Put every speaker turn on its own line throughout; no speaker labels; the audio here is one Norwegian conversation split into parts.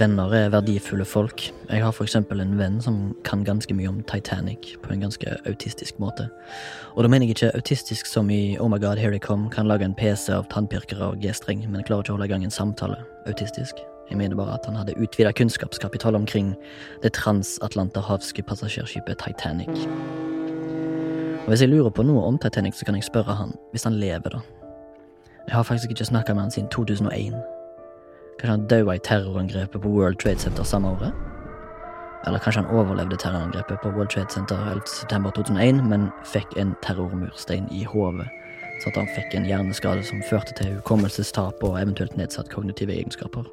Venner er verdifulle folk. Jeg har for eksempel en venn som kan ganske mye om Titanic på en ganske autistisk måte. Og da mener jeg ikke autistisk som i Oh my god, here they come, kan lage en PC av tannpirkere og G-streng, men klarer ikke å holde i gang en samtale. Autistisk. Jeg mener bare at han hadde utvida kunnskapskapital omkring det transatlanterhavske passasjerskipet Titanic. Og hvis jeg lurer på noe om Titanic, så kan jeg spørre han, hvis han lever, da. Jeg har faktisk ikke snakka med han siden 2001. Kanskje han daua i terrorangrepet på World Trade Center samme året? Eller kanskje han overlevde terrorangrepet på World Trade Center 11.9.2001, men fikk en terrormurstein i hodet, så at han fikk en hjerneskade som førte til hukommelsestap og eventuelt nedsatt kognitive egenskaper,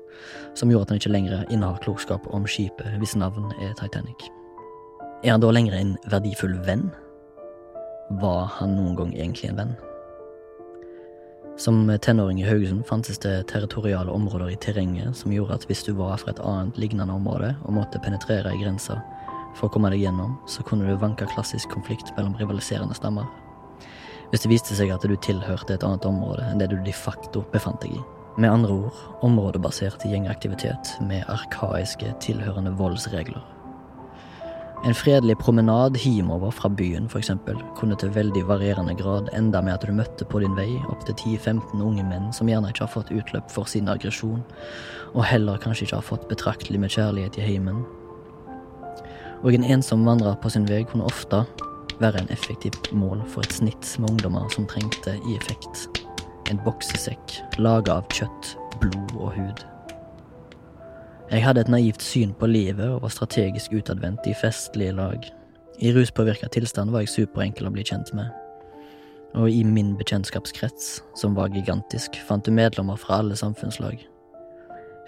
som gjorde at han ikke lenger innehar klokskap om skipet hvis navn er Titanic. Er han da lenger en verdifull venn? Var han noen gang egentlig en venn? Som tenåring i Haugesund fantes det territoriale områder i terrenget som gjorde at hvis du var fra et annet lignende område og måtte penetrere ei grense for å komme deg gjennom, så kunne du vanke klassisk konflikt mellom rivaliserende stammer. Hvis det viste seg at du tilhørte et annet område enn det du de facto befant deg i. Med andre ord områdebasert gjengaktivitet med arkaiske, tilhørende voldsregler. En fredelig promenad hjemover fra byen, for eksempel, kunne til veldig varierende grad enda med at du møtte på din vei opptil 10-15 unge menn som gjerne ikke har fått utløp for sin aggresjon, og heller kanskje ikke har fått betraktelig med kjærlighet i heimen. Og en ensom vandrer på sin vei kunne ofte være en effektivt mål for et snitt med ungdommer som trengte i effekt en boksesekk laga av kjøtt, blod og hud. Jeg hadde et naivt syn på livet og var strategisk utadvendt i festlige lag. I ruspåvirka tilstand var jeg superenkel å bli kjent med. Og i min bekjentskapskrets, som var gigantisk, fant du medlemmer fra alle samfunnslag.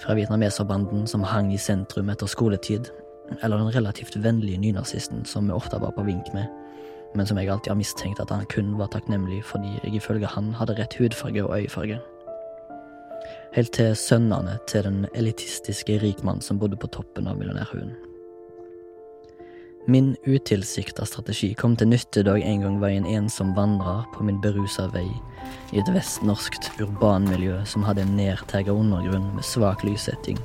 Fra vietnameserbanden som hang i sentrum etter skoletid, eller den relativt vennlige nynazisten som vi ofte var på vink med, men som jeg alltid har mistenkt at han kun var takknemlig fordi jeg ifølge han hadde rett hudfarge og øyefarge. Helt til sønnene til den elitistiske rikmannen som bodde på toppen av millionærhuen. Min utilsikta strategi kom til nytte da jeg en gang var en ensom vandrer på min berusa vei i et vestnorskt urbanmiljø som hadde en nedtagga undergrunn med svak lyssetting,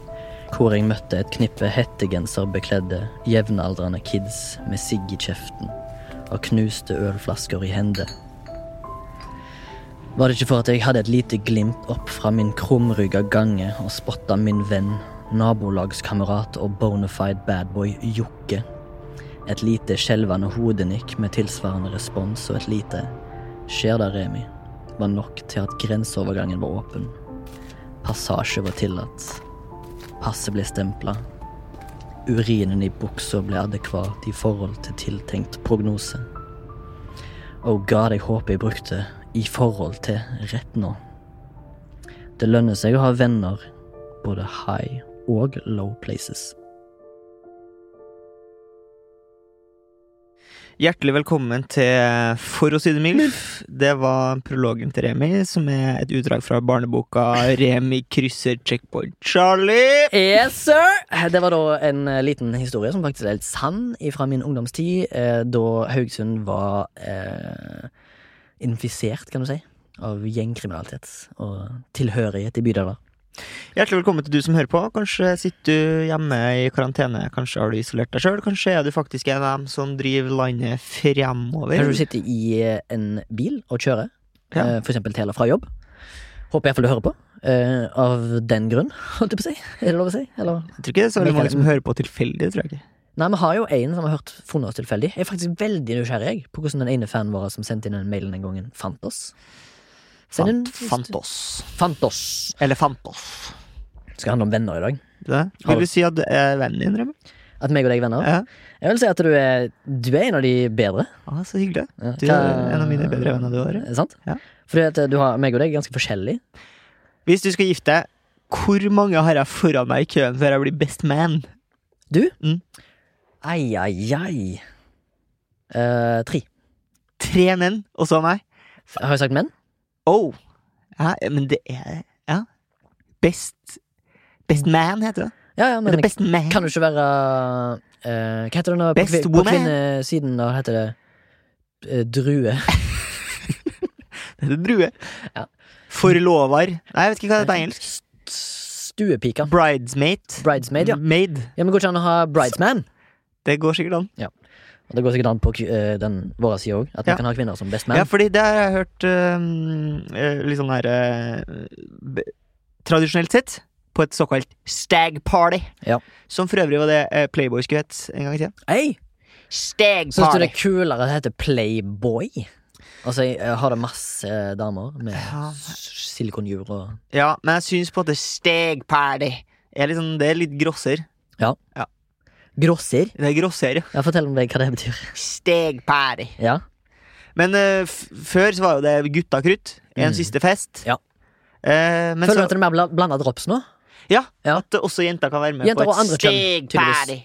hvor jeg møtte et knippe hettegenserbekledde, jevnaldrende kids med sigg i kjeften og knuste ølflasker i hende var det ikke for at jeg hadde et lite glimt opp fra min krumrygga gange og spotta min venn, nabolagskamerat og bonafide badboy Jokke. Et lite skjelvende hodenikk med tilsvarende respons og et lite 'skjer da, Remi' var nok til at grenseovergangen var åpen. Passasje var tillatt. Passet ble stempla. Urinen i buksa ble adekvat i forhold til tiltenkt prognose. Oh god, jeg håper jeg brukte i forhold til rett nå. Det lønner seg å ha venner, både high og low places.
Hjertelig velkommen til For å si det mildt. Det var prologen til Remi, som er et utdrag fra barneboka 'Remi krysser checkpoint Charlie'.
Yes, sir! Det var da en eh, liten historie som faktisk er helt sann fra min ungdomstid, eh, da Haugesund var eh, infisert, kan du si, av gjengkriminalitet og tilhørighet i bydeler.
Hjertelig velkommen til du som hører på. Kanskje sitter du hjemme i karantene, kanskje har du isolert deg sjøl, kanskje er du faktisk en av dem som driver landet
Kanskje
fremover.
du sitter i eh, en bil og kjører,
Ja.
eh, for eksempel til eller fra jobb. Håper iallfall du hører på. eh, av den grunn, holdt jeg på å si. Er det lov å si? Eller?
Jeg tror ikke det er så veldig mange som hører på tilfeldig, tror jeg ikke.
Nei, vi har jo en som har hørt funnet oss tilfeldig. Jeg er faktisk veldig nysgjerrig jeg, på hvordan den ene fanen vår som sendte inn den mailen den gangen, fant oss. Send en-
Fant, fant oss.
Fant oss!
Eller fant oss.
Det skal handle om venner i dag.
Det. Vil du si at du er vennen din, Remi?
At meg og deg er venner?
Ja.
Jeg vil si at du er, du er en av de bedre.
Ah, så hyggelig.
Ja.
Du er en av mine bedre venner du har.
Er det sant?
Ja.
Fordi at eh, du har, meg og deg er ganske forskjellige.
Hvis du skal gifte deg, hvor mange har jeg foran meg i køen før jeg blir best man?
Du?
Mm.
Ai, ai, ai. Eh, tre.
Tre menn, og så nei.
Har jeg sagt menn?
Oh. Ja, men det er Ja. Best Best man, heter det.
Ja, ja, men
Men det er best man.
kan jo ikke være eh, Hva heter det nå? På,
Best
kvi- på
woman.
kvinnesiden, da heter det eh, drue.
Det er drue.
Ja.
Forlover. Nei, jeg vet ikke hva det er på engelsk.
St- Stuepika.
Bridesmate.
Bridesmaid, ja. Ja, men Går ikke an å ha bridesman?
Det går sikkert an.
Og Det går sikkert an på kvi- eh, den våre sida òg, at man
Ja.
kan ha kvinner som
Ja,
bestman.
fordi det har jeg hørt øhm, øh, litt sånn her øh, b- Tradisjonelt sett på et såkalt stag party.
Ja.
Som for øvrig var det øh, Playboy skulle hett en gang i tida.
Hey!
Stag
Syns du det er kulere at det heter Playboy? Altså, jeg eh, har det masse eh, damer med
Ja.
s- silikonjur og
Ja, men jeg syns på at det er stag party er litt sånn, Det er litt grosser.
Grosser?
Det er grosser, ja.
Ja, fortell om deg hva det betyr.
Stag party.
Ja,
Men øh, f før så var jo det guttakrutt. En
Mm.
siste fest.
Ja.
Eh, men
Føler du
så,
at det er mer bla- blanda drops nå?
ja,
Ja.
at også jenter kan være med
Jenter
på
og
et
andre kjønn,
stag
tydeligvis.
party.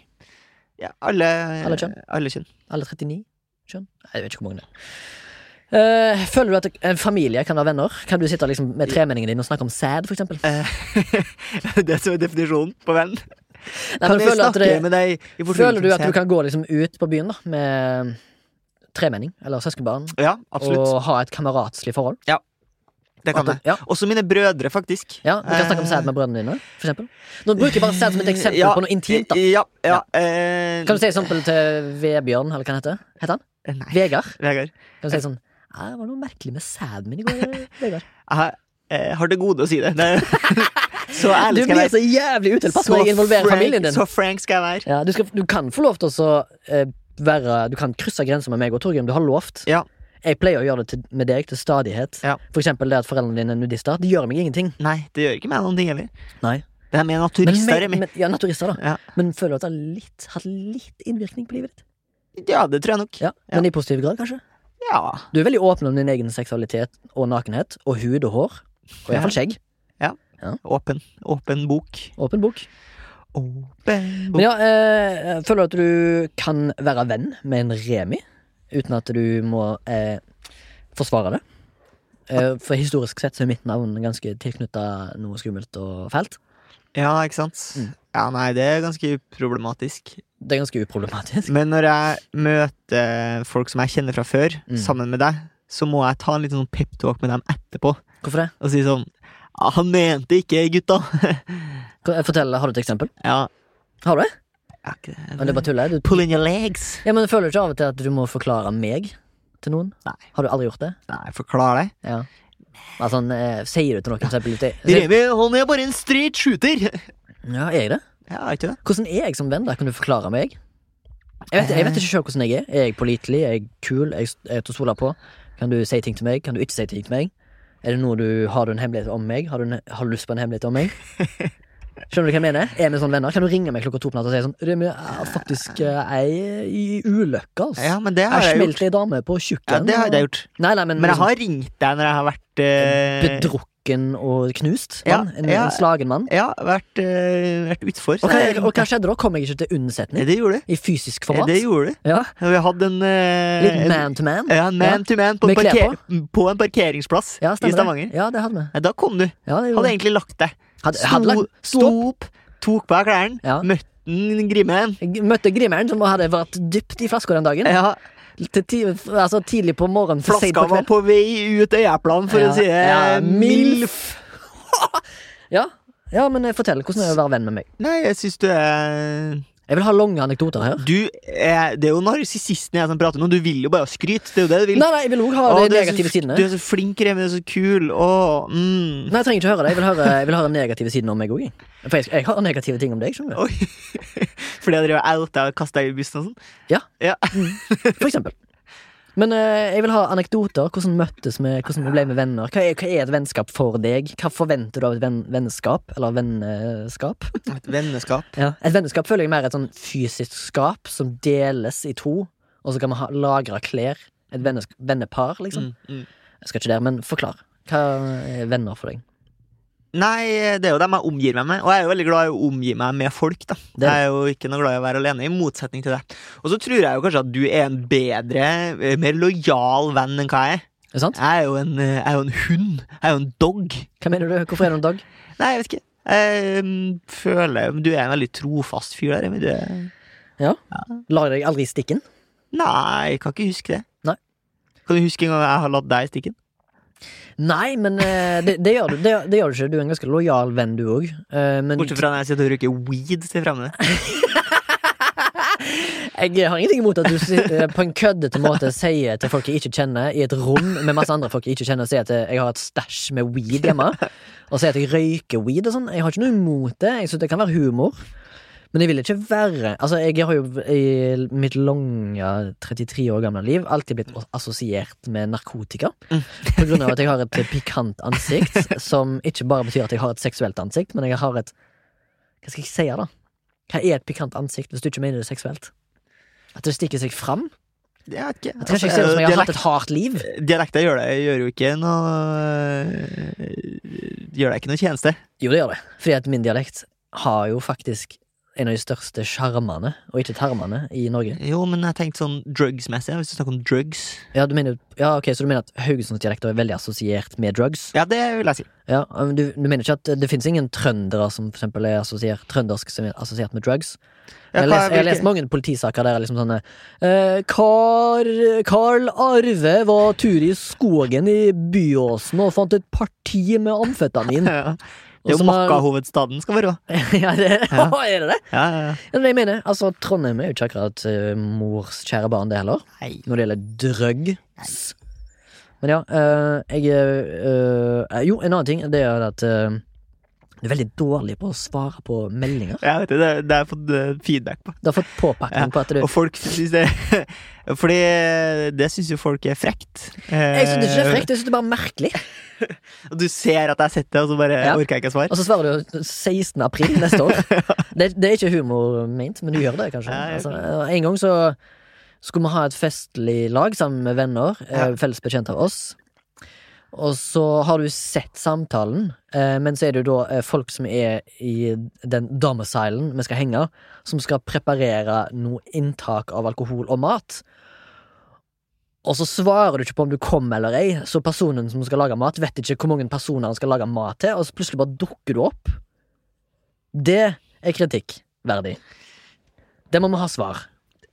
Ja, alle,
Alle kjønn.
Alle kjønn.
Alle 39 kjønn? Nei, Jeg vet ikke hvor mange det er. Eh, føler du at en familie kan være venner? Kan du sitte liksom med tremenningen din og snakke om sæd, for eksempel?
Eh, det som er definisjonen på venn.
Nei,
Kan
men
jeg
føler, at
snakke
det,
med deg i
føler du at du
fortrolighet?
kan gå liksom ut på byen da med tremenning eller søskenbarn
Ja, absolutt.
og ha et kameratslig forhold?
det kan
At
jeg.
du, ja,
Også mine brødre, faktisk.
ja, du kan snakke om sæd med brødrene dine, for eksempel. Nå bruker jeg bare sæd som et eksempel
Ja,
på noe intimt. da
Eh, Ja, ja. eh,
Kan du si eksempel til Vebjørn, eller hva han heter? Heter han?
Nei,
Vegard?
Vegard.
Kan du
Eh.
si sånn «Ja, Det var noe merkelig med sæden min i går, Vegard.
Jeg har- jeg har til gode å si det. det så
Du
ærlig skal
blir
jeg være.
så jævlig utilpass når jeg involverer
frank-
familien din.
så frank skal jeg være.
Ja, du, skal, du kan få lov til å så, eh, være Du kan krysse grenser med meg og Torgrim. Du har lovt.
Ja.
Jeg pleier å gjøre det til, med deg til stadighet.
Ja.
For eksempel det at foreldrene dine er nudister. Det gjør meg ingenting.
Nei, det gjør ikke meg noen ting heller.
Nei.
Det er mer
Men,
naturister.
meg,
Remi.
men, ja, naturister, da.
Ja.
Men føler du at det har litt, hatt litt innvirkning på livet ditt?
Ja, det tror jeg nok.
Ja, Men i positiv grad, kanskje?
Ja.
Du er veldig åpen om din egen seksualitet og nakenhet. Og hud og hår. Og iallfall skjegg.
Åpen. Åpen bok.
Åpen bok.
Åpen bok.
Men ja, eh, føler du at du kan være venn med en remi uten at du må eh, forsvare det? Eh, for historisk sett så er mitt navn ganske tilknytta noe skummelt og fælt.
Ja, ikke sant?
Mm.
Ja, nei, det er ganske problematisk.
Det er ganske uproblematisk.
Men når jeg møter folk som jeg kjenner fra før,
Mm.
sammen med deg, så må jeg ta en liten sånn peptalk med dem etterpå
Hvorfor det?
og si sånn «Ja, Han mente ikke, gutta!
Hva- eh, Fortell, Har du et eksempel?
ja.
Har du det?
ja, ikke det.
Men det er bare tuller. Du,
Pulling your legs.
ja, men føler du ikke av og til at du må forklare meg til noen?
Nei.
Har du aldri gjort det?
Nei, forklar deg.
Ja. Altså, sånn, eh, sier du til noen for eksempel ute sier-
Remi, han er bare en straight shooter!
Ja, er jeg det?
Ja, ikke det?
Hvordan er jeg som venn? da? Kan du forklare meg? Jeg vet, jeg vet ikke selv hvordan jeg er. Er jeg pålitelig? Er jeg kul? Er jeg er jeg til å stole på? Kan du si ting til meg? Kan du ikke si ting til meg? Er det noe du, Har du en hemmelighet om meg? Har du, en, har du lyst på en hemmelighet om meg? Skjønner du hva jeg mener? Er vi sånne venner? Kan du ringe meg klokka to på natta og si sånn Remi, jeg er faktisk eh, jeg i ulykke, altså.
Ja, men det har
jeg
jeg gjort.
smelte ei dame på
Ja,
tjukken.
det har jeg gjort.
Nei, nei, men,
Men jeg
liksom,
har ringt deg når jeg har vært eh,
Bedrukken og knust
Ja,
mann. en,
ja.
en slagen mann.
Ja, vært, eh, vært utfor. så
Og hva,
jeg ringte.
og hva skjedde da? Kom jeg ikke til unnsetning?
Det gjorde du.
I fysisk
Ja,
format?
Det gjorde du.
Ja,
Vi hadde en eh,
Litt
en-
man to man.
Ja, man to man på,
Med
en
klær
parker på. en parkeringsplass
Ja,
i
stemmer
Stavanger.
det. Ja, det hadde vi.
Nei, da kom du.
Ja, det
Hadde
gjorde vi.
egentlig lagt deg.
Hadde, hadde lagt,
sto opp, tok på deg klærne,
Ja.
møtte en Grimmen.
jeg møtte Grimeren, som hadde vært dypt i flaska den dagen.
Ja,
Til ti, altså tidlig på morgenen. til sent
flaska
på
var
kveld.
på vei ut øyeplanen, for
Ja,
å si det Eh,
ja,
mildt.
Ja. ja, men eh, fortell. Hvordan er det å være venn med meg?
Nei, jeg syns du er
Jeg vil ha lange anekdoter her.
Du er Det er jo narsissisten jeg som prater nå. Du vil jo bare ha skryt. Det er jo det du vil.
Nei, nei, jeg vil òg ha
Å,
de
du er så-
negative sidene.
Du er så flink, Remi. Du er så kul. Å, mm.
Nei, jeg trenger ikke høre det. Jeg vil høre, jeg vil høre negative siden om meg òg. For jeg, jeg har negative ting om deg, skjønner du.
Oi. Fordi jeg drev og outa og kasta deg i bussen og sånn?
Ja.
ja.
For eksempel. Men eh, jeg vil ha anekdoter. Hvordan møttes vi? Hvordan vi ble med venner? Hva er, hva er et vennskap for deg? Hva forventer du av et venn, vennskap? Eller vennskap?
Et vennskap.
Ja. Et vennskap føler jeg mer er et sånn fysisk skap som deles i to, og så kan man ha, lagre klær. Et vennes, vennepar, liksom.
Mm, mm.
Jeg skal ikke der, men forklar. Hva er venner for deg?
Nei, det er jo dem jeg omgir meg med. Og jeg er jo veldig glad i å omgi meg med folk. da
Det er
Jeg er jo ikke noe glad i å være alene, i motsetning til deg. Og så tror jeg jo kanskje at du er en bedre, eh, mer lojal venn enn hva jeg er.
Er det sant?
Jeg er jo en, eh, jeg er jo en hund. Jeg er jo en dog.
Hva mener du? Hvorfor er det en dag?
Nei, jeg vet ikke. Jeg mm, føler Du er en veldig trofast fyr der. Emil. Du er
Ja. Lar deg aldri i stikken?
Nei, jeg kan ikke huske det.
Nei.
Kan du huske en gang jeg har latt deg i stikken?
Nei, men eh, det, det, gjør du, det, det gjør du ikke. Du er en ganske lojal venn, du òg. Men
Bortsett fra når jeg sitter og røyker weed til fremmede.
jeg har ingenting imot at du sitter på en køddete måte sier til folk jeg ikke kjenner, i et rom med masse andre folk jeg ikke kjenner, og sier at eh, jeg har et stæsj med weed hjemme, og sier at jeg røyker weed og sånn. Jeg har ikke noe imot det. Jeg synes det kan være humor. Men jeg vil ikke være Altså, jeg har jo i mitt lange 33 år gamle liv alltid blitt assosiert med narkotika. På grunn av at jeg har et pikant ansikt, som ikke bare betyr at jeg har et seksuelt ansikt, men jeg har et Hva skal jeg si, da? Hva er et pikant ansikt, hvis du ikke mener det seksuelt? At det stikker seg fram?
Jeg vet ikke.
At det kanskje ikke ser ut som jeg har hatt et hardt liv?
Dialekter gjør, det- gjør jo ikke noe Gjør deg ikke noe tjeneste.
Jo, det gjør det. Fordi at min dialekt har jo faktisk en av de største sjarmene, og ikke tarmene, i Norge.
Jo, men jeg tenkte sånn drugsmessig. Hvis du snakker om drugs
Ja, du mener, ja, ok, Så du mener at Haugesundsdialekter er veldig assosiert med drugs?
Ja, det vil jeg si.
Ja, men du, du mener ikke at det finnes ingen trøndere som for eksempel er assosiert, trøndersk som er assosiert med drugs?
Ja,
Jeg,
hva-
les, jeg har lest
hvilke-
mange politisaker der er liksom sånne eh, Karl, Karl Arve var tur i skogen i Byåsen og fant et parti med amfetamin.
Ja. Det
Og
er
så
jo
må-
Makka-hovedstaden skal være.
ja, det,
Ja.
er det det?
Ja, ja, ja.
Ja, men jeg mener, altså Trondheim er jo ikke akkurat eh, mors kjære barn, det heller.
Nei.
Når det gjelder drugs. Men ja, eh, jeg eh, eh, Jo, en annen ting, det er at eh, du er veldig dårlig på å svare på meldinger.
Jeg vet det, det, det har jeg fått eh, feedback på.
Du har fått påpakning på at du
Og folk syns det Fordi eh, det syns jo folk er frekt. Eh,
Jeg syns det ikke er frekt, jeg syns det er bare merkelig.
Og du ser at jeg sitter, og så bare
Ja.
orker jeg ikke å svare.
Og så svarer du 16. april neste år. Det, det er ikke humor ment, men du gjør det kanskje.
Ja, jeg
Altså, en gang så skulle vi ha et festlig lag sammen med venner, eh,
Ja.
felles bekjente av oss. Og så har du sett samtalen, eh, men så er det jo da eh, folk som er i den domicilen vi skal henge, som skal preparere noe inntak av alkohol og mat. Og så svarer du ikke på om du kom eller ei, så personen som skal lage mat, vet ikke hvor mange personer han skal lage mat til, og så plutselig bare dukker du opp. Det er kritikkverdig. Det må vi ha svar,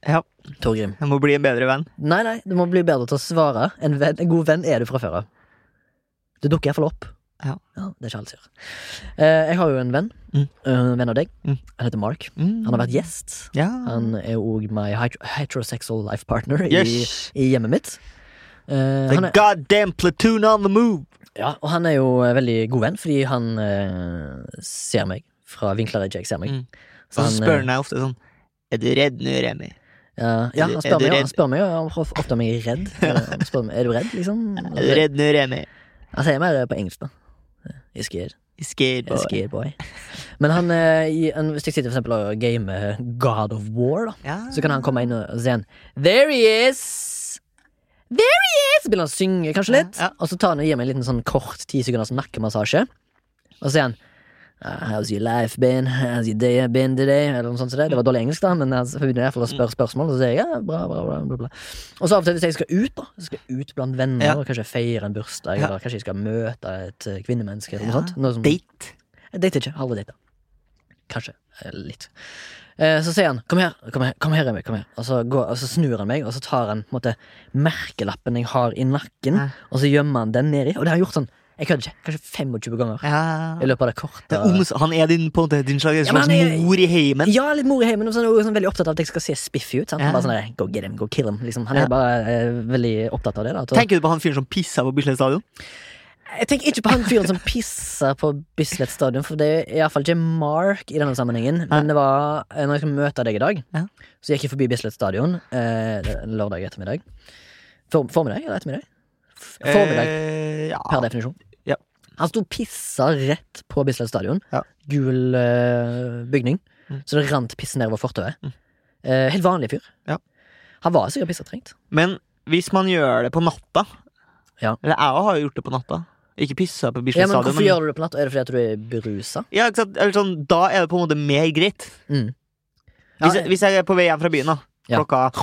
Ja,
Torgrim.
jeg må bli en bedre venn.
Nei, nei, du må bli bedre til å svare. En, venn, en god venn er du fra før av. Du dukker iallfall opp.
Ja.
Det er ikke alle som gjør. Eh, jeg har jo en venn.
Mm.
eh, venn av deg.
Mm.
Han heter Mark.
Mm.
Han har vært gjest.
Ja.
Han er òg my hetero- heterosexual life partner
Yes.
i, i hjemmet mitt. Eh, han
The
er,
goddamn platoon on the move!
ja, og han er jo eh, veldig god venn, fordi han eh, ser meg fra vinkler jeg ikke ser meg.
Mm.
Så
Og så
han,
spør
eh,
han meg ofte sånn Er du redd nå, Remi?
ja, ja, han
Er
spør
du- er du
meg, jo-
redd?
han spør meg jo of- ofte om jeg er redd. Han spør meg, er du redd, liksom?
Er du redd nå, Remi?
Han sier mer på engelsk, da. Jeg scared. Jeg
Scared boy.
scared boy. Men han, eh, i, en, hvis jeg sitter for eksempel og gamer God of War, da,
Ja.
så kan han komme inn og si en There he is! There he is! Så begynner han å synge kanskje litt,
Ja, ja.
og så tar han og gir meg en liten sånn kort ti sekunders nakkemassasje. Og så sier han «Ah, How's your life been? How's your day been today? Eller noe sånt som det. Det var dårlig engelsk, da, men han begynner i hvert fall å
Mm.
spørre spørsmål, og så sier jeg ja, bra, bra, bra, bla, bla. Og så av og til hvis jeg skal ut, da, jeg skal ut blant venner,
Ja.
og kanskje feire en bursdag,
Ja.
eller kanskje jeg skal møte et eh, kvinnemenneske, eller
Ja.
noe sånt. Noe som,
Date.
jeg dater ikke. Aldri data. Kanskje. eh, Litt. Eh, Så sier han 'kom her, kom her, kom her, Emil, kom her'. Og så, går, og så snur han meg, og så tar han på en måte, merkelappen jeg har i nakken,
Ja.
og så gjemmer han den nedi. Og det har han gjort sånn jeg kødder ikke, kanskje 25 ganger i
Ja.
løpet av det
Det
korte
er oms- han er din, på en måte, din slags,
Ja, men
slags
han er-
mor i heimen.
Ja, litt mor i heimen, og så er han også sånn veldig opptatt av at jeg skal se spiffy ut. Sant? Han
Ja.
bare sånn der, go get him, go kill him liksom. Han
Ja.
er bare eh, veldig opptatt av det. Da, at-
Tenker du på han fyren som pissa på Bislett stadion?
Jeg tenker ikke på han fyren som pisser på Bislett stadion, for det er iallfall ikke Mark i denne sammenhengen. Men det var eh, når jeg skulle møte deg i dag,
Ja.
så gikk jeg forbi Bislett stadion eh, lørdag ettermiddag. For, formiddag eller ettermiddag? F- Formiddag,
Eh, ja.
per definisjon.
Ja.
Han sto og pissa rett på Bislett stadion.
Ja.
Gul eh, bygning.
Mm.
Så det rant piss nedover fortauet.
Mm.
Eh, helt vanlig fyr.
Ja.
Han var sikkert pissetrengt.
Men hvis man gjør det på natta
Ja.
Eller jeg har jo gjort det på natta. Ikke pissa på
Ja, men
Bislett stadion.
Hvorfor gjør du det på natt? Er det fordi at du er berusa?
Ja, ikke sant? Eller sånn, da er det på en måte mer greit.
Mm. Ja,
Hvis jeg, hvis jeg er på vei hjem fra byen, da.
Ja.
Klokka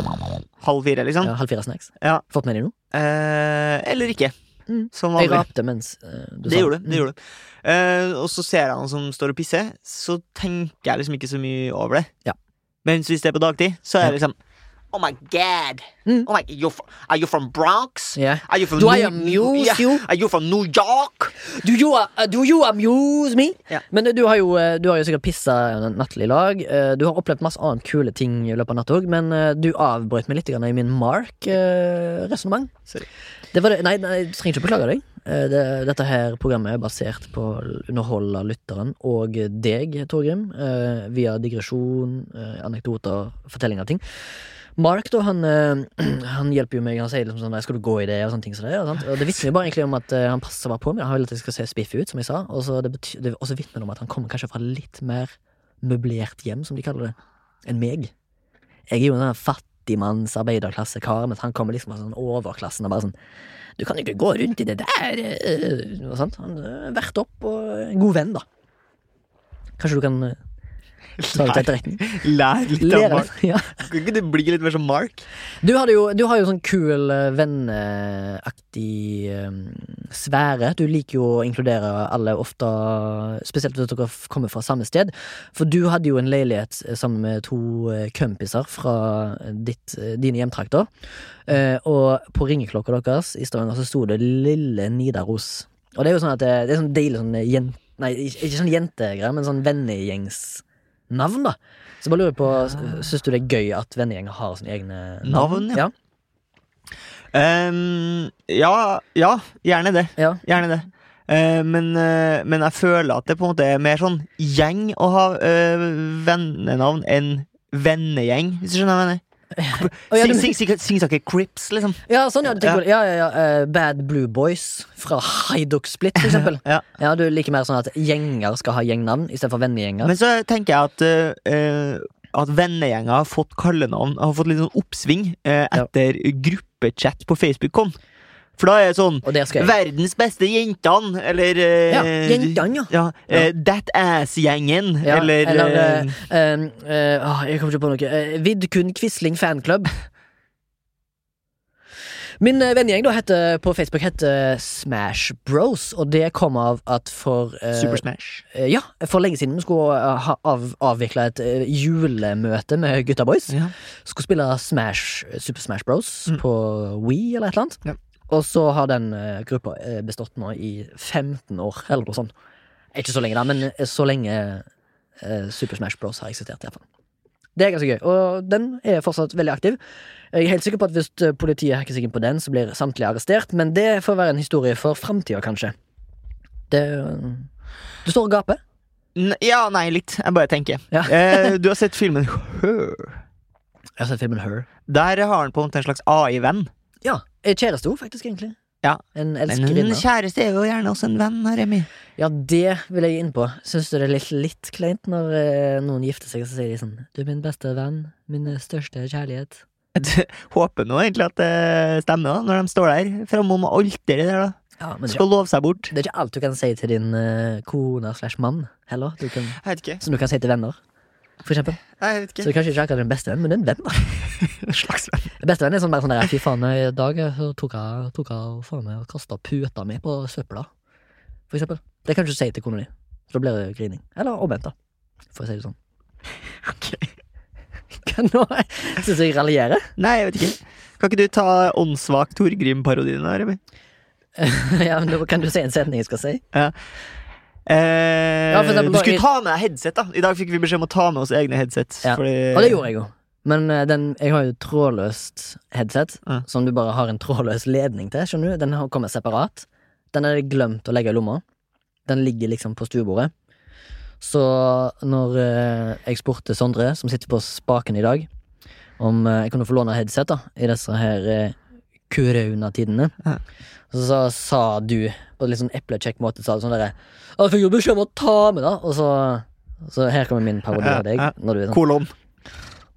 halv fire, liksom.
ja, halv fire snacks?
Ja.
Fått med deg noe?
Eh, eller ikke.
Mm.
Som
Jeg
vanlig.
rapte mens eh, du
Det
sa
gjorde du. det gjorde du. Eh, og så ser jeg han som står og pisser, så tenker jeg liksom ikke så mye over det.
Ja.
Mens hvis det er på dagtid, så er det liksom Oh my god!
Mm.
Oh my, you're from, are you from Bronx?
Yeah.
Are you from
Do
New,
I amuse
yeah.
you?
Are you from New York?
Do you, uh, do you amuse me?
Ja.
Men du har, jo, eh, du har jo sikkert pissa nattlig i lag. Eh, Du har opplevd masse annet kule ting i løpet av natta òg, men eh, du avbrøt meg litt grann i min Mark-resonnement.
Sorry.
Det var det. Nei, nei, du trenger ikke beklage deg. Eh, Det, dette her programmet er basert på å underholde lytteren og deg, Torgrim, eh, via digresjon, eh, anekdoter, fortelling av ting. Mark da, han, eh, han hjelper jo meg. Han sier liksom sånn, «Nei, skal du gå i det og sånne ting. som det, er, og, sånt. og Det vitner jo bare egentlig om at eh, han passer bare på meg. Han vil at jeg skal se spiffy ut, som jeg sa. Og så det bety- det- og så vitner det om at han kommer kanskje fra litt mer møblert hjem, som de kaller det, enn meg. Jeg er jo en fattigmanns arbeiderklassekar, mens han kommer liksom fra sånn overklassen og bare sånn Du kan jo ikke gå rundt i det der! eh, Og sånt. Han er vært opp og en god venn, da. Kanskje du kan eh, ta det til etterretning?
Lær litt av
Lære
Mark.
ja.
Kan ikke du bli litt mer som Mark?
Du, hadde jo, du har jo sånn kul eh, venneaktig eh, sfære. Du liker jo å inkludere alle ofte, spesielt hvis dere f- kommer fra samme sted. For du hadde jo en leilighet eh, sammen med to eh, kompiser fra ditt, eh, dine hjemtrakter. Eh, og på ringeklokka deres i Stavanger så sto det Lille Nidaros. Og det er jo sånn at det, det er sånn deilig sånn jen- Nei, ikke ikke sånn jentegreier, men sånn vennegjengsnavn, da. Så bare lurer jeg på,
Ja.
syns du det er gøy at vennegjenger har sine egne
Ah. Navn, ja. Ehm, ja, ja, gjerne det.
Ja.
Gjerne det. Eh, men, eh, men jeg føler at det på en måte er mer sånn gjeng å ha eh, vennenavn enn vennegjeng, hvis du skjønner hva jeg mener.
Å, ja,
Sing-
du-
sing- sing- Singsaker Crips, liksom.
Ja, sånn, ja. du tenker på
Ja.
det. ja, ja, ja. eh, Bad Blue Boys fra Haidok Split, for eksempel.
Ja.
ja, du liker mer sånn at gjenger skal ha gjengnavn istedenfor vennegjenger.
Men så tenker jeg at eh, eh, At vennegjenger har fått kallenavn Har fått litt sånn oppsving eh,
Ja.
etter gruppechat på Facebook kom. For da er det sånn
Og det skal jeg.
'Verdens beste jentene', eller eh,
Ja, jentene, ja.
eh, That Ass-gjengen,
Ja,
eller, eh,
eh, eh, eh, åh, Jeg kommer ikke på noe. Eh, Vidkun Quisling fanklubb. Min eh, vennegjeng da heter, på Facebook heter Smash Bros, og det kom av at for eh,
Super Smash.
eh, Ja, for lenge siden vi skulle eh, ha av, avvikla et eh, julemøte med gutta boys.
Ja.
skulle spille Smash, Super Smash Bros
Mm.
på Wii eller et eller annet.
Ja.
Og så har den eh, gruppa eh, bestått nå i 15 år, eller noe sånt. Ikke så lenge, da, men eh, så lenge eh, Super Smash Bros har eksistert. i hvert fall. Det er ganske gøy, og den er fortsatt veldig aktiv. Jeg er helt sikker på at Hvis eh, politiet hacker seg inn på den, så blir samtlige arrestert, men det får være en historie for framtida, kanskje. Det Du står og gaper.
N ja, nei, litt. Jeg bare tenker.
Ja.
eh, du har sett filmen Her.
Jeg har sett filmen Her.
Der har han på en måte en slags AI-venn.
Ja. eh, Kjæreste òg, faktisk, egentlig.
Ja.
En
Men en
elskerinne.
kjæreste er jo gjerne også en venn. Her, Remi.
Ja, det vil jeg inn på. Syns du det er litt, litt kleint når eh, noen gifter seg og så sier de sånn Du er min beste venn, min eh, største kjærlighet.
Håper nå egentlig at det stemmer, da, når de står der framom alteret der, da.
Ja, men det er,
Skal love seg bort.
ikke, det er ikke alt du kan si til din eh, kone slash mann heller, du kan,
Jeg vet ikke.
som du kan si til venner. For eksempel.
Jeg vet
Så
ikke.
du er kanskje ikke akkurat din beste venn, men det er en venn. da
Slags venn.
Bestevenn er sånn bare sånn der Fy faen, i dag eh, så tok jeg, tok jeg og faen meg og kasta puta mi på søpla. For eksempel. Det kan du ikke si til kona di. For da blir det grining. Eller omvendt, da. For å si det sånn.
Ok.
Kan nå Syns du jeg raljerer?
Nei, jeg vet ikke. Kan ikke du ta åndssvak Torgrim-parodien, da, Remi?
ja, men da kan du si en setning jeg skal si?
Eh,
Ja, for eksempel
du
da-
skulle ta med deg headset, da. I dag fikk vi beskjed om å ta med oss egne headset.
Ja.
fordi-
Og det gjorde jeg jo. Men eh, den, jeg har jo trådløst headset,
Ja.
som du bare har en trådløs ledning til. skjønner du? Den har kommet separat. Den er det glemt å legge i lomma. Den ligger liksom på stuebordet. Så når eh, jeg spurte Sondre, som sitter på spaken i dag, om eh, jeg kunne få låne headset da, i disse her uh, korona-tidene,
Ja.
så sa du på en litt sånn eplekjekk måte sa du sånn derre Jeg fikk jo beskjed om å ta med det! Og så, så her kommer min parodi av deg.
Ja, ja.
Når du er sånn
Kolon.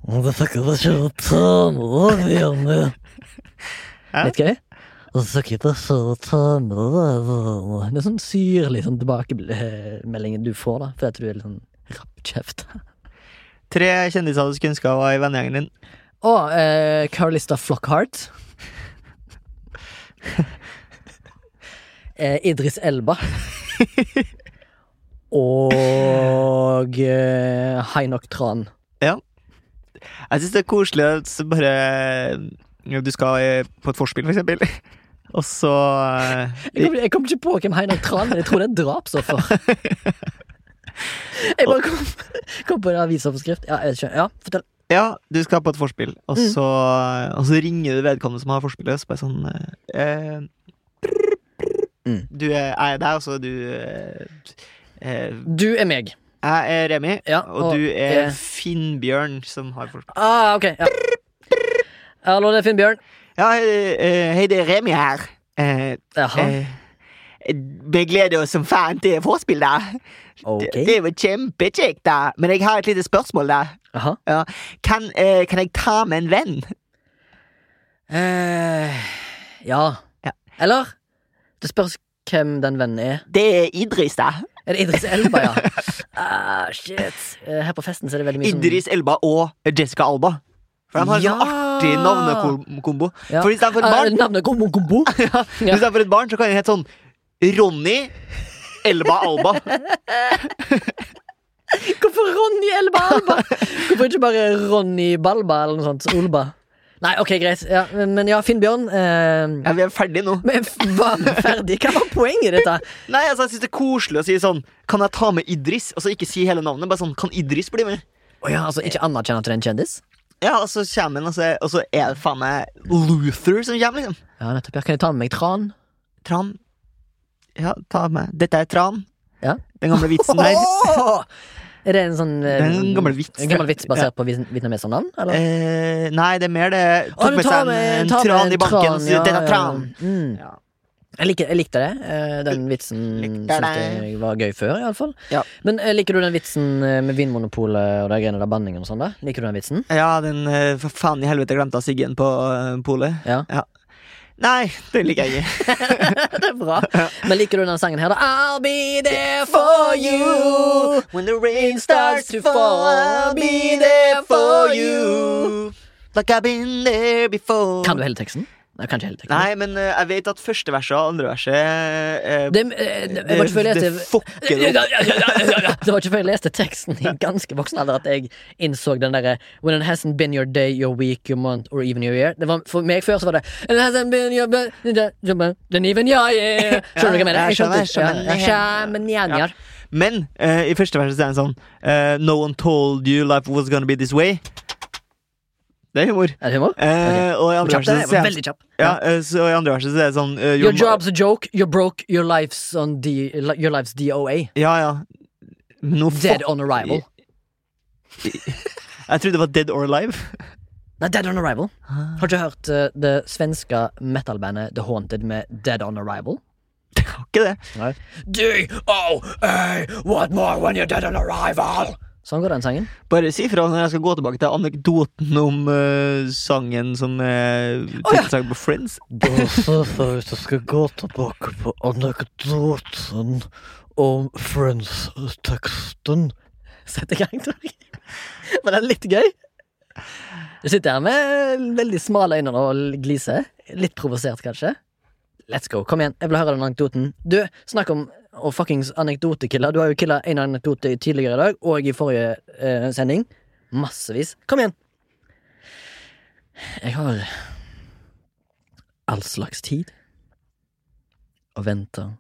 Motherfucker, hva skjer med Tom og Janne?
Hæ?
Litt gøy? Og så gikk det så- så- Det er sånn syrlig sånn tilbakemelding du får, da, fordi at du er litt sånn rappkjeft.
Tre kjendiser du skulle ønske var i vennegjengen din.
Og eh, Carlista Flockhart. eh, Idris Elba. Og eh, Heinok Tran.
Jeg syns det er koselig at så bare ja, Du skal eh, på et forspill, for eksempel. Og så eh,
Jeg kom, jeg kom ikke på hvem Heinok Tran er. Jeg tror det er et drapsoffer. Jeg bare kom, kom på en avisoverskrift. Ja, jeg skjønner. Ja, fortell.
Ja, du skal på et forspill, og
Mm.
så, og så ringer du vedkommende som har forspillet. Så bare sånn eh,
Mm.
Du er, jeg er deg, og så er du eh, eh,
Du er meg.
Jeg er Remi,
Ja,
og,
og
du er
jeg-
Finnbjørn som har forspill.
Ah, ok. Ja. Hallo, det er Finnbjørn.
Ja, hei, eh, hei, det er Remi her. Eh,
Jaha.
eh, vi gleder oss som fan til vorspiel, da. Det,
Ok.
det er jo kjempekjekt, da. Men jeg har et lite spørsmål, da.
Jaha.
Ja. Kan, eh, kan jeg ta med en venn?
Eh, ja.
Ja.
Eller? Det spørs hvem den vennen er.
Det er Idris, da.
Er det Idris Elba, ja? ah, shit. Eh, Her på festen så er det veldig mye
Idris Elba og Jessica Alba. For de har en
Ja.
sånn artig navnekombo.
Ja.
For istedenfor et
som
barn,
Eh, Navnet Gombo Gombo?
i stedet for et barn så kan den hete sånn Ronny Elba Alba.
Hvorfor Ronny Elba Alba? Hvorfor ikke bare Ronny Balba eller noe sånt? Olba? Nei, ok, greit. Ja, men, men ja, Finnbjørn. Eh,
Ja, vi er ferdige nå.
men f- var vi ferdig? Hva var poenget i dette?
Nei, altså, jeg synes det er koselig å si sånn Kan jeg ta med Idris? Og så ikke si hele navnet. Bare sånn, kan Idris bli med?
Å ja, altså, ikke anerkjenner at det er en kjendis?
Ja, Og så kommer han, og så, og så er det faen meg Luther som kommer, liksom.
Ja, nettopp. Ja, kan jeg ta med meg Tran?
Tran. Ja, ta med Dette er Tran.
Ja.
Den gamle vitsen der.
Åh! Er det en sånn eh,
Det er en gammel vits,
En gammel vits basert på vis- vietnamesernavn? Eller?
Eh, nei, det er mer det
Å,
Tok
du
med
tar
seg en,
med-
en
tar med
tran i banken og sier
ja,
'dette er
ja,
tran'.
Mm.
Ja.
Jeg, liker, jeg likte det. eh, Den vitsen
Likte
syntes
det.
jeg var gøy før, iallfall.
Ja.
Men eh, liker du den vitsen eh, med Vinmonopolet og de greiene der banningen og sånn? da? Liker du den vitsen?
Ja, den eh, for faen i helvete glemte jeg Siggen på eh, polet.
Ja.
Nei, det liker jeg ikke.
det er bra. Men liker du den sangen her, da? I'll be there for you.
when the rain
starts to fall, I'll be there for you.
Like I've been there before.
Kan du hele teksten? Nei, kan ikke hele teksten.
Nei, men eh, jeg vet at første verset og andre verset eh,
Det, eh, det, det var ikke før jeg
det
leste
fucker opp.
Det var ikke før jeg leste teksten i ganske voksen alder at jeg innså den derre When it hasn't been your day, your week, your month or even your year. Det var, for meg før så var det It hasn't been your day, your month, then even your year. Skjønner du hva jeg mener?
Ja, jeg
Jeg skjønte
skjønner, jeg skjønner.
ikke. Ja, Sjamanjanjar.
Men eh, i første verset er det sånn eh, No one told you life was gonna be this way. Det er humor.
Er det humor?
Eh, Og i andre
Kjapp, det
verset så
var
er
veldig kjapp.
ja, eh, så i andre verset så er det sånn eh,
Your
mo-
job's a joke, you're broke, your life's on D, your life's DOA.
Ja, ja. Men Nå
Dead
fuck
on arrival.
Jeg trodde det var Dead or Alive.
Nei, Dead on arrival. Har du ikke hørt eh, det svenske metalbandet The Haunted med Dead on arrival?
Har ikke det.
D-O-A, what more when you're dead on arrival? Sånn går den sangen.
Bare si fra når jeg skal gå tilbake til anekdoten om eh, sangen som er
Å, ja.
tittelsang på Friends.
Da sa jeg hvis jeg skal gå tilbake på anekdoten om Friends-teksten Sett i gang, Torg. Var den litt gøy? Du sitter her med veldig smale øyne og gliser. Litt provosert, kanskje. Let's go. Kom igjen, jeg vil høre den anekdoten. Du, snakk om å fuckings anekdotekiller. Du har jo killa en anekdote tidligere i dag, og i forrige eh, sending. Massevis. Kom igjen. Jeg har all slags tid og venter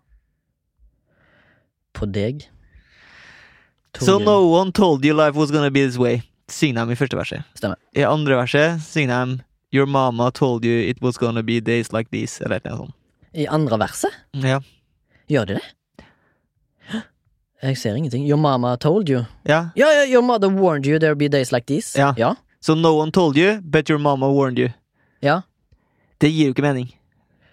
på deg.
So
Torgeir.
no one told you life was gonna be this way. Synger de i første verset.
Stemmer.
I andre verset synger de Your mama told you it was gonna be days like these. Eller noe sånt.
I andre verset?
Ja.
Gjør de det? Hæ? Jeg ser ingenting. Your mama told you.
ja.
Ja, ja, your mother warned you there'll be days like these.
Ja.
ja.
So no one told you, but your mama warned you.
Ja.
Det gir jo ikke mening.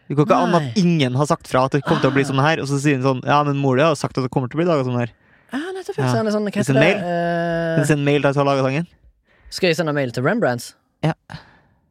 Det går ikke an
Nei.
at ingen har sagt fra at det kommer til å bli sånn her, og så sier hun sånn Ja, men mor di har jo sagt at det kommer til å bli laga sånn her.
Ah, nettopp.
Ja.
Ja. Så han er sånn, hva
Send
heter det? Eh,
Men send mail til at hun har laga sangen.
skal jeg sende mail til Rembrandts?
Ja.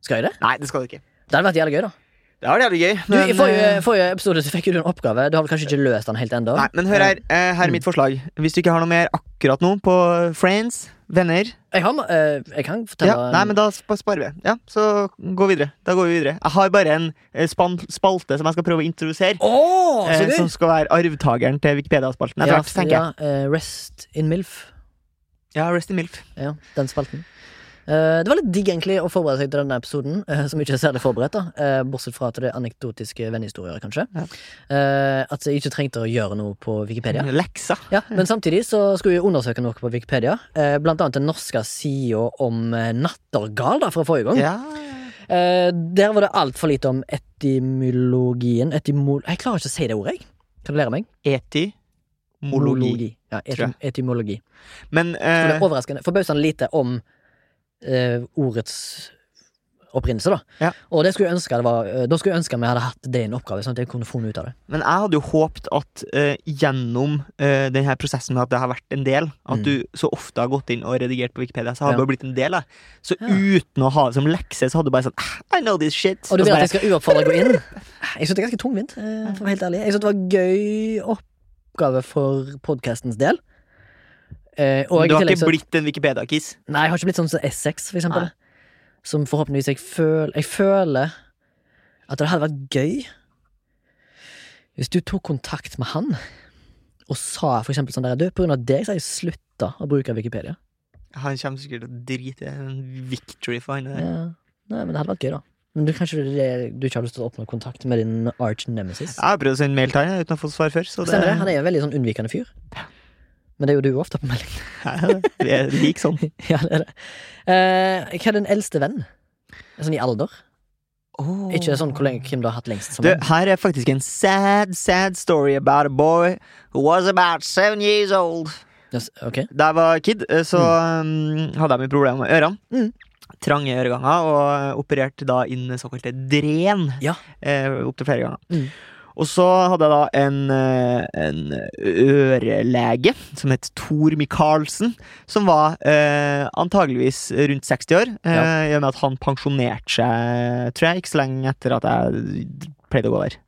Skal jeg det?
Nei, det skal du ikke.
Det hadde vært jævlig gøy, da.
Det har vært jævlig gøy.
Du, I
Men,
forrige,
eh,
forrige episode så fikk jo du en oppgave. Du har vel kanskje ikke løst den helt ennå?
nei, men hør her. eh, Her er mitt forslag. Hvis du ikke har noe mer akkurat nå på friends, venner
Jeg, har, eh, jeg kan fortelle
ja, Nei, men da sp- sparer vi. Ja, Så gå videre. Da går vi videre. Jeg har bare en eh, span spalte som jeg skal prøve å introdusere.
Åh, så
eh,
gøy!
som skal være arvtakeren til Wikipedia-spalten. etter
ja,
hvert, tenker jeg.
ja, eh, Rest in Milf.
Ja, rest in milf.
Ja, den spalten. Eh, det var litt digg egentlig å forberede seg til denne episoden, eh, som ikke er særlig forberedt. da eh, Bortsett fra til det anekdotiske vennehistorier, kanskje.
Ja.
Eh, at jeg ikke trengte å gjøre noe på Wikipedia.
Leksa.
Ja, Men samtidig så skulle vi undersøke noe på Wikipedia. Eh, blant annet den norske sida om eh, nattergal da, fra forrige gang.
Ja.
Eh, der var det altfor lite om etymologien Etymol... Jeg klarer ikke å si det ordet, jeg. Kan du lære meg?
Etymologi.
Ja,
tror
etym
jeg.
etymologi.
Men
Så det
eh,
er overraskende forbausende lite om eh, ordets opprinnelse, da.
Ja.
Og det skulle jeg ønske det var, eh, da skulle jeg ønske vi hadde hatt det i en oppgave, sånn at jeg kunne funnet ut av det.
Men jeg hadde jo håpet at eh, gjennom eh, denne prosessen med at det har vært en del, at
Mm.
du så ofte har gått inn og redigert på Wikipedia, så har
Ja.
det bare blitt en del. Da. Så
Ja.
uten å ha det som lekse, så hadde du bare sånn "Ah, I know this shit.
Og du vil at
så bare,
jeg skal uoppfordra gå inn? Jeg syns det er ganske tungvint. eh, For å være helt ærlig Jeg synes det var gøy oppgave for podkastens del. Eh, og jeg,
du
i
har
tillegg så-
ikke blitt en Wikipedia-kiss.
Nei, jeg har ikke blitt sånn som S6, for eksempel.
Nei.
Som forhåpentligvis jeg føler Jeg føler at det hadde vært gøy hvis du tok kontakt med han og sa for eksempel sånn der Du, på grunn av deg så har jeg slutta å bruke Wikipedia.
Han kommer sikkert til å drite i en victory for han. der.
Ja. Nei, men det hadde vært gøy, da. Men du, kanskje det er det du ikke har lyst til å oppnå kontakt med din arch nemesis?
Jeg har prøvd å sende mail til han jeg, uten å få svar før. Så det,
Stemmer det? Han er jo en veldig sånn unnvikende fyr. Men det er jo du ofte på melding.
Vi er lik sånn.
ja, det er det. Eh, hva er din eldste venn? Sånn i alder? Ikke sånn hvor lenge hvem du har hatt lengst som
Du,
venn.
her er faktisk en sad, sad story about a boy who was about seven years old.
Yes, ok.
Da jeg var kid, eh, så mm. hadde jeg mye problemer med ørene.
Mm.
Trange øreganger, og eh, opererte da inn såkalte dren
Ja.
eh, opptil flere ganger.
Mm.
Og så hadde jeg da en, eh, en ørelege som het Tor Michaelsen, som var eh, antageligvis rundt 60 år, eh, i og med at han pensjonerte seg, tror jeg, ikke så lenge etter at jeg pleide å gå der.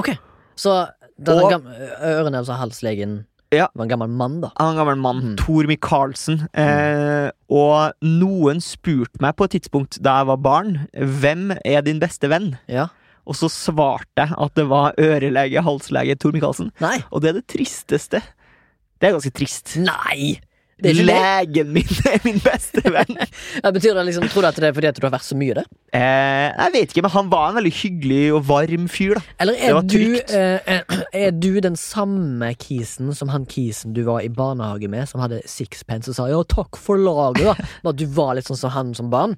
Ok, Så da den
Og-
gamle ørene altså halslegen
Ja.
var en gammel mann, da?
Han er en gammel mann,
Mm.
Tor Michaelsen. Eh, og noen spurte meg på et tidspunkt da jeg var barn, hvem er din beste venn?
Ja.
Og så svarte jeg at det var ørelege, halslege Tor Michaelsen.
Nei!
Og det er det tristeste. Det er ganske trist.
Nei! Det er ikke det.
Legen min er min beste venn!
Ja, betyr det liksom, tror du at det er fordi at du har vært så mye der?
eh, jeg vet ikke, men han var en veldig hyggelig og varm fyr, da.
Eller
Det
er
var
du,
trygt.
eh, er du den samme kisen som han kisen du var i barnehage med, som hadde sixpence og sa 'ja, takk for laget', da? Men at du var litt sånn som han som barn?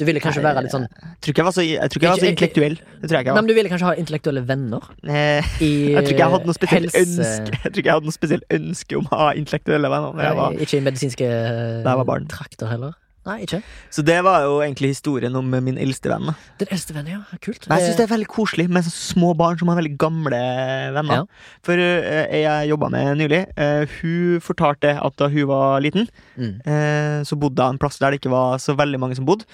Du ville kanskje
Nei,
være litt sånn
Jeg Eh, tror ikke jeg var så, jeg tror ikke jeg var så
Ikke-
intellektuell. Det tror jeg ikke
Nei,
jeg var.
men Du ville kanskje ha intellektuelle venner?
Eh,
I
jeg tror ikke jeg hadde noe spesielt
helse-
ønske Jeg tror ikke jeg hadde noe spesielt ønske om å ha intellektuelle venner. når jeg var
Nei, ikke i medisinske
Da jeg var barn.
trakter heller? Nei, ikke.
Så det var jo egentlig historien om min eldste venn. da.
Den eldste vennen, ja. Kult.
Men jeg synes det er veldig koselig med sånne små barn som har veldig gamle venner.
Ja.
For eh, ei jeg jobba med nylig, eh, hun fortalte at da hun var liten,
Mm.
eh, så bodde hun en plass der det ikke var så veldig mange som bodde.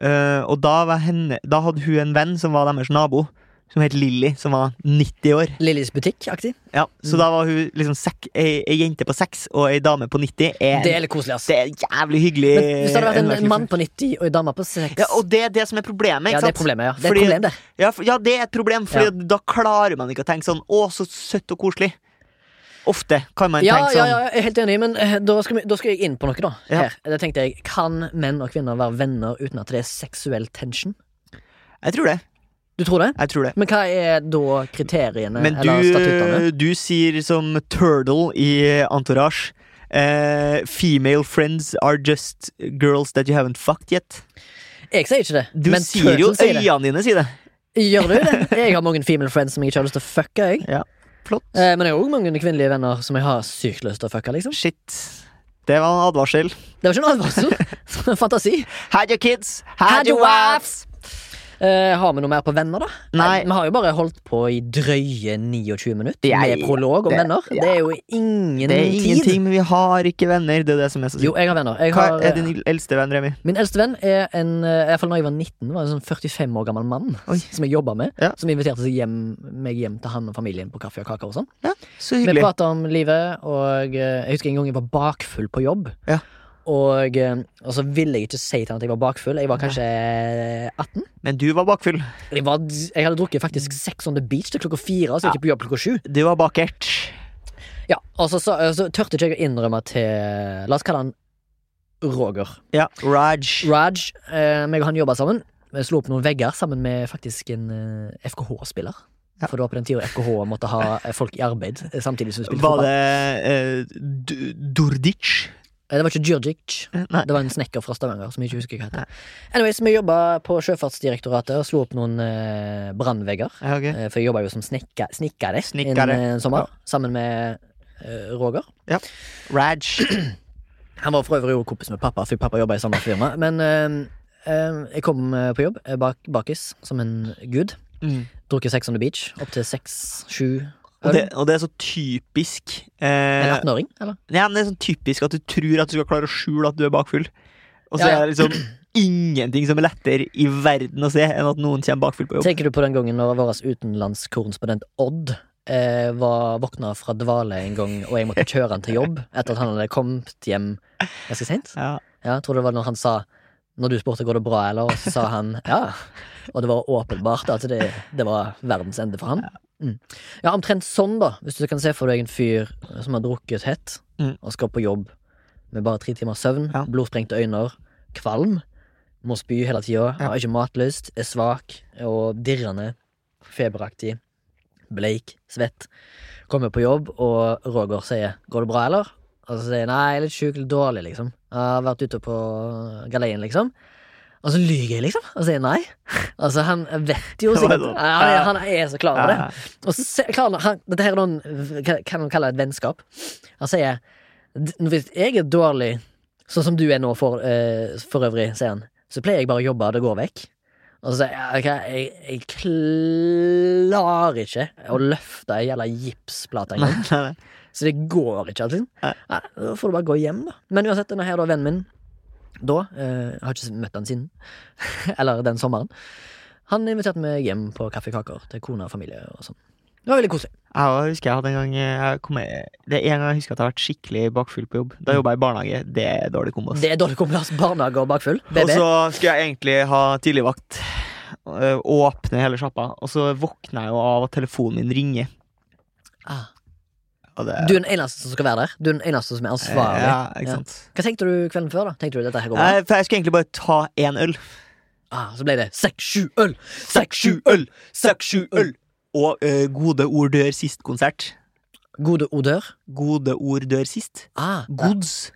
Eh, og da, var henne, da hadde hun en venn som var deres nabo, som het Lilly, som var 90 år.
Lillys butikk-aktig.
Ja, så
Mm.
da var hun liksom sek, ei, ei jente på seks og ei dame på 90. Er,
Det er litt koselig, ass.
det er jævlig hyggelig.
Men hvis det hadde vært en,
hverdagsliv.
mann på 90 og en dame på 6
ja, Og det er det som er problemet. Ikke
Ja, det er
sant?
problemet, ja. Det er
Fordi-
et problem, det.
Ja, for, ja, det er et problem, for
Ja.
da klarer man ikke å tenke sånn Å, så søtt og koselig. Ofte kan man
Ja,
tenke
ja,
sånn.
ja, jeg er helt enig, men eh, da skal, vi, da skal jeg inn på noe, da.
Ja.
Her. Da tenkte jeg, Kan menn og kvinner være venner uten at det er seksuell tension?
Jeg tror det.
Du tror det?
jeg tror det
Men hva er da kriteriene
Men
eller Eh, statuttene?
du, du sier som Turtle i Entourage eh, Female friends are just girls that you haven't fucked yet.
Jeg sier ikke det.
Du
men
sier jo
Turtles sier det.
øynene dine sier det.
Gjør du det? Jeg har mange female friends som jeg ikke har lyst til å fucke. Jeg.
Ja, flott.
Eh, men jeg har òg mange kvinnelige venner som jeg har sykt lyst til å fucke. liksom
Shit. Det var en advarsel.
Det var ikke en advarsel. Fantasi.
Had your kids,
Had
had your
your
wives.
Eh, Eh, har vi noe mer på venner, da?
Nei.
Vi har jo bare holdt på i drøye 29 minutter
Jeg-
med prolog om
det-
venner.
ja.
Det er jo ingen,
Det er
tid.
ingenting, men vi har ikke venner. Det er det som er så
Jo,
sykt.
jeg har venner. Jeg
Hva
har,
er din eldste venn, Remi?
Min eldste venn er en eh, i hvert fall når jeg var 19, var en sånn 45 år gammel mann
Oi.
som jeg jobba med.
Ja.
Som inviterte seg hjem, meg hjem til han og familien på kaffe og kake og sånn.
Så
Vi
hyggelig.
prata om livet, og eh, jeg husker en gang jeg var bakfull på jobb.
Ja.
Og, eh, og så ville jeg ikke si til han at jeg var bakfull. Jeg var kanskje 18.
Men du var bakfull.
Jeg, var, jeg hadde drukket faktisk Sex on the Beach til klokka fire, så jeg gikk på jobb klokka sju.
Du var bakert.
Ja, og så, så, så tørte ikke jeg å innrømme til La oss kalle han Roger.
Ja. Raj.
Raj, eh, meg og han jobba sammen. Vi slo opp noen vegger sammen med faktisk en eh, FKH-spiller.
Ja.
For det var på den tida FKH måtte ha eh, folk i arbeid eh, samtidig som vi spilte
Var
fotball. Det?
det eh, D- Durdic?
Eh, det var ikke Djurdjic.
Eh, Nei.
Det var en snekker fra Stavanger som jeg ikke husker hva heter. Anyways, vi jobba på Sjøfartsdirektoratet og slo opp noen eh, brannvegger.
Ja, ok.
Eh, For jeg jobba jo som snekker, snekker en
Snekkere.
eh, sommer sammen med eh, Roger.
Raj.
Han var for øvrig også kompis med pappa, for pappa jobba i samme firma. Men eh, eh, jeg kom eh, på jobb eh, bak, bakis som en gud.
Mm.
Drukket sex on the beach opp til seks, sju
Og,
øl.
det, og det er så typisk
En
eh,
18-åring, eller?
ja, men Det er sånn typisk at du tror at du skal klare å skjule at du er bakfull. Og så
Ja, ja.
er det liksom ingenting som er lettere i verden å se enn at noen kommer bakfull på jobb.
Tenker du på den gangen når vår utenlandskorrespondent Odd eh, var våkna fra dvale en gang, og jeg måtte kjøre han til jobb etter at han hadde kommet hjem ganske seint?
Ja.
Ja, jeg tror det var når han sa Når du spurte går det bra, eller? Og så sa han ja. Og det var åpenbart at det, det var verdens ende for han. Mm. Ja, omtrent sånn, da. Hvis du kan se for deg en fyr som har drukket hett,
Mm.
og skal på jobb med bare tre timers søvn,
Ja.
blodsprengte øyne, kvalm, må spy hele tida,
Ja.
har ikke matlyst, er svak og dirrende, feberaktig, bleik, svett. Kommer på jobb, og Roger sier 'Går det bra, eller?' Og så sier jeg 'Nei, jeg er litt sjuk, litt dårlig', liksom. Jeg har vært ute på galeien, liksom. Og så lyger jeg, liksom, og sier nei. Altså, han vet jo
Det var
sikkert
sånn.
han, er- han er så klar over det.
Ja.
Og så se- klarer han- han Dette her er noen, hva- kan man kalle et vennskap. Han sier "D- Hvis jeg er dårlig, sånn som du er nå for, eh, for øvrig, sier han, så pleier jeg bare å jobbe, og det går vekk. Og så sier jeg "Ja, ok, jeg, jeg klarer ikke å løfte ei jævla gipsplate engang.
Nei, nei, nei.
Så det går ikke alltid.
Nei.
Nei, da får du bare gå hjem, da. Men uansett, denne her da, vennen min da eh, Jeg har ikke møtt han siden. Eller den sommeren. Han inviterte meg hjem på kaffekaker til kone og familie og sånn. Det var veldig koselig.
Jeg også husker jeg hadde en gang eh, jeg kom, Det er en gang jeg husker at jeg har vært skikkelig bakfull på jobb. Da jobba jeg i barnehage. Det er dårlig kombo. ass.
Det er dårlig kombinasjon barnehage og bakfull. BB.
Og så skulle jeg egentlig ha tidligvakt. øh, Åpne hele sjappa. Og så våkner jeg jo av at telefonen min ringer.
ah,
Og det,
du er den eneste som skal være der. Du er den eneste som er ansvarlig.
Ja, ikke sant.
Hva tenkte du kvelden før, da? Tenkte du dette her går bra?
Nei, for jeg skulle egentlig bare ta én øl.
Ah, så ble det seks, sju øl! Seks, sju øl!
øl! Seks, sju øl! Og øh, Gode ord dør sist-konsert.
Gode odør.
Gode ord dør sist.
Ah,
Gods.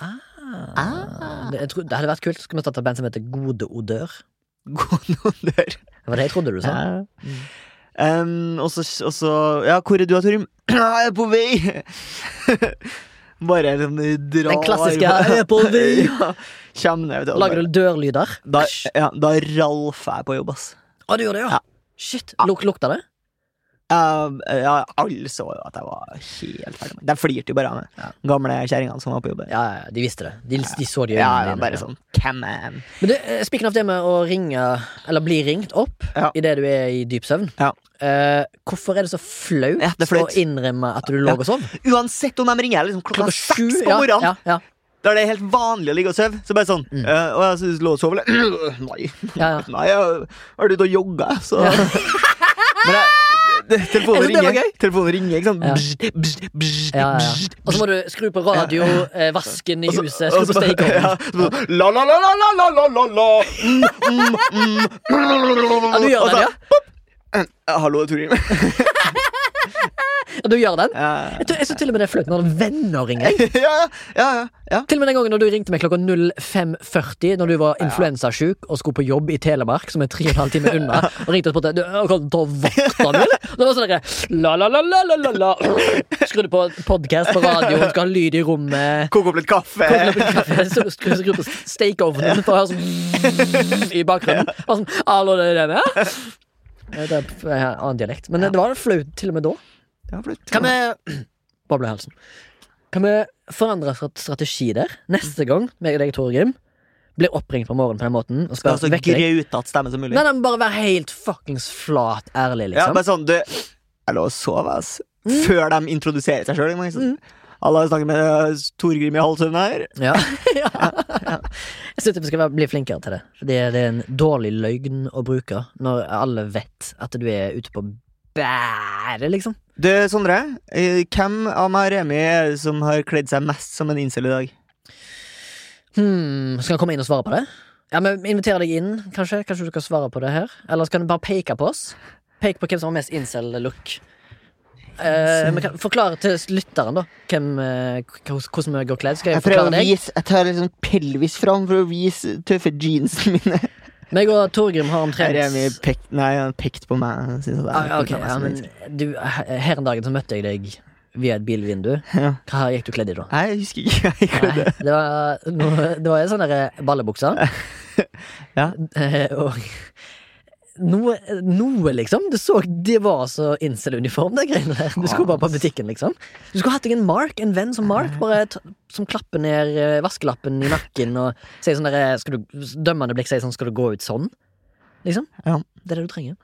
Ah.
Ah.
Det, jeg tror, det hadde vært kult. Skulle vi starta et band som heter Gode odør?
Gode ord dør.
Det var det jeg trodde du sa.
Ja. Um, og så, og så Ja, hvor er du, Torim? Jeg er på vei! Bare sånn drar
Den klassiske, «Jeg er på vei!»
ja, Kjem ned, vet du.
Lager du dørlyder?
Da, ja, da ralfer jeg på jobb, ass.
Å, du gjør det, ja?
Ja.
Shit. Luk, lukta det?
Um, ja, alle så jo at jeg var helt ferdig. med De flirte jo bare av meg. Gamle kjerringene som var på jobb.
Ja, ja, de visste det. De, de så det i
Ja,
øynene
ja,
dine,
bare sånn Come on.
Men du, eh, Speaking of det med å ringe, eller bli ringt opp
Ja.
idet du er i dyp søvn
Ja.
eh, Hvorfor er det så flaut,
Ja, det er flaut.
å innrømme at du lå
Ja.
og sov?
Uansett om de ringer liksom klokka seks på
ja,
morgenen,
ja, ja,
da er det helt vanlig å ligge og sove. Så bare sånn mm. Og jeg synes, lå og sov, eller? Nei.
ja, ja.
Nei, jeg har vært ute og jogga, så
Ja.
Men jeg, det, telefonen,
Jeg synes det var
ringer,
gøy.
telefonen ringer, ikke sant?
Ja.
Bzz, bzz, bzz,
Ja, ja,
bzz,
ja. Og så må du skru på radio, eh, vasken i
og så-
huset, skru
og så-
på stekeovnen.
ja, så bare, La, la, la, la, la, la, la, la, la. Mm, mm, mm.
Ja, du gjør
Og så-
det, ja.
Eh, Hallo, Torim.
Ja, du gjør den?
Ja,
Jeg tror, jeg tror til og med det er flaut når venner ringer.
ja, ja, ja, ja.
Til og med den gangen når du ringte meg klokka 05.40 Når du var influensasjuk og skulle på jobb i Telemark, som er tre og en halv time unna, og ringte og spurte Du «Å, kan du ta vakta mi, eller? Og Det var sånn derre la-la-la-la-la-la Skrudde på podkast på radioen, skal ha lyd i rommet
Koke opp litt kaffe.
Koke opp en kaffe, så du skrur skru på stekeovnen for å høre sånn i bakgrunnen. Og sånn, Hallo, det er det med? Det er en annen dialekt. Men det var flaut til og med da.
Ja, flott.
Kan vi Boblehalsen. Kan vi forandre stra- strategi der? Neste gang meg og deg, Tore Grim, blir oppringt på morgenen på den måten og
Skal
spør
altså ha så
vekker deg.
grautete stemme som mulig.
Nei, nei, altså, men bare være helt fuckings flat ærlig,
Ja,
liksom.
bare sånn, du Jeg lå og sov, ass.
Mm.
Før de introduserer seg sjøl. Liksom. Alle har snakket med eh, Torgrim i halvsøvn her.
Ja, ja. Jeg syns vi skal være- bli flinkere til det. Fordi det er en dårlig løgn å bruke når alle vet at du er ute på bæret, liksom.
Du, Sondre. eh, Hvem av meg og Remi er det som har kledd seg mest som en incel i dag?
Hmm, skal han komme inn og svare på det? Ja, men Inviter deg inn, kanskje. Kanskje du skal svare på det her? Eller skal du bare peke på oss? Pek på hvem som har mest incel-look. Eh, men kan- Forklare til lytteren, da, hvem, eh, k- hvordan vi går kledd. Skal jeg forklare deg?
vise, jeg tar liksom pelvis fram for å vise tøffe jeansene mine.
Meg og Torgrim har omtrent
Remi pekt, nei, han pekte på meg. Synes jeg det er.
ah, ja, ok, ja, men du, he- Her en dag så møtte jeg deg via et bilvindu.
Ja.
Hva gikk du kledd i da?
Nei, jeg husker ikke. Jeg
Nei,
kledd.
det var, noe- det var en sånn derre ballebukse.
Ja.
Eh, og noe, noe, liksom. Du så det var så incel-uniform, de greiene der. Du skulle bare på butikken, liksom. Du skulle hatt deg en Mark, en venn som Mark, bare t som klapper ned eh, vaskelappen i nakken og sier sånn derre skal du- Dømmende blikk sier sånn Skal du gå ut sånn? Liksom.
Ja.
Det er det du trenger.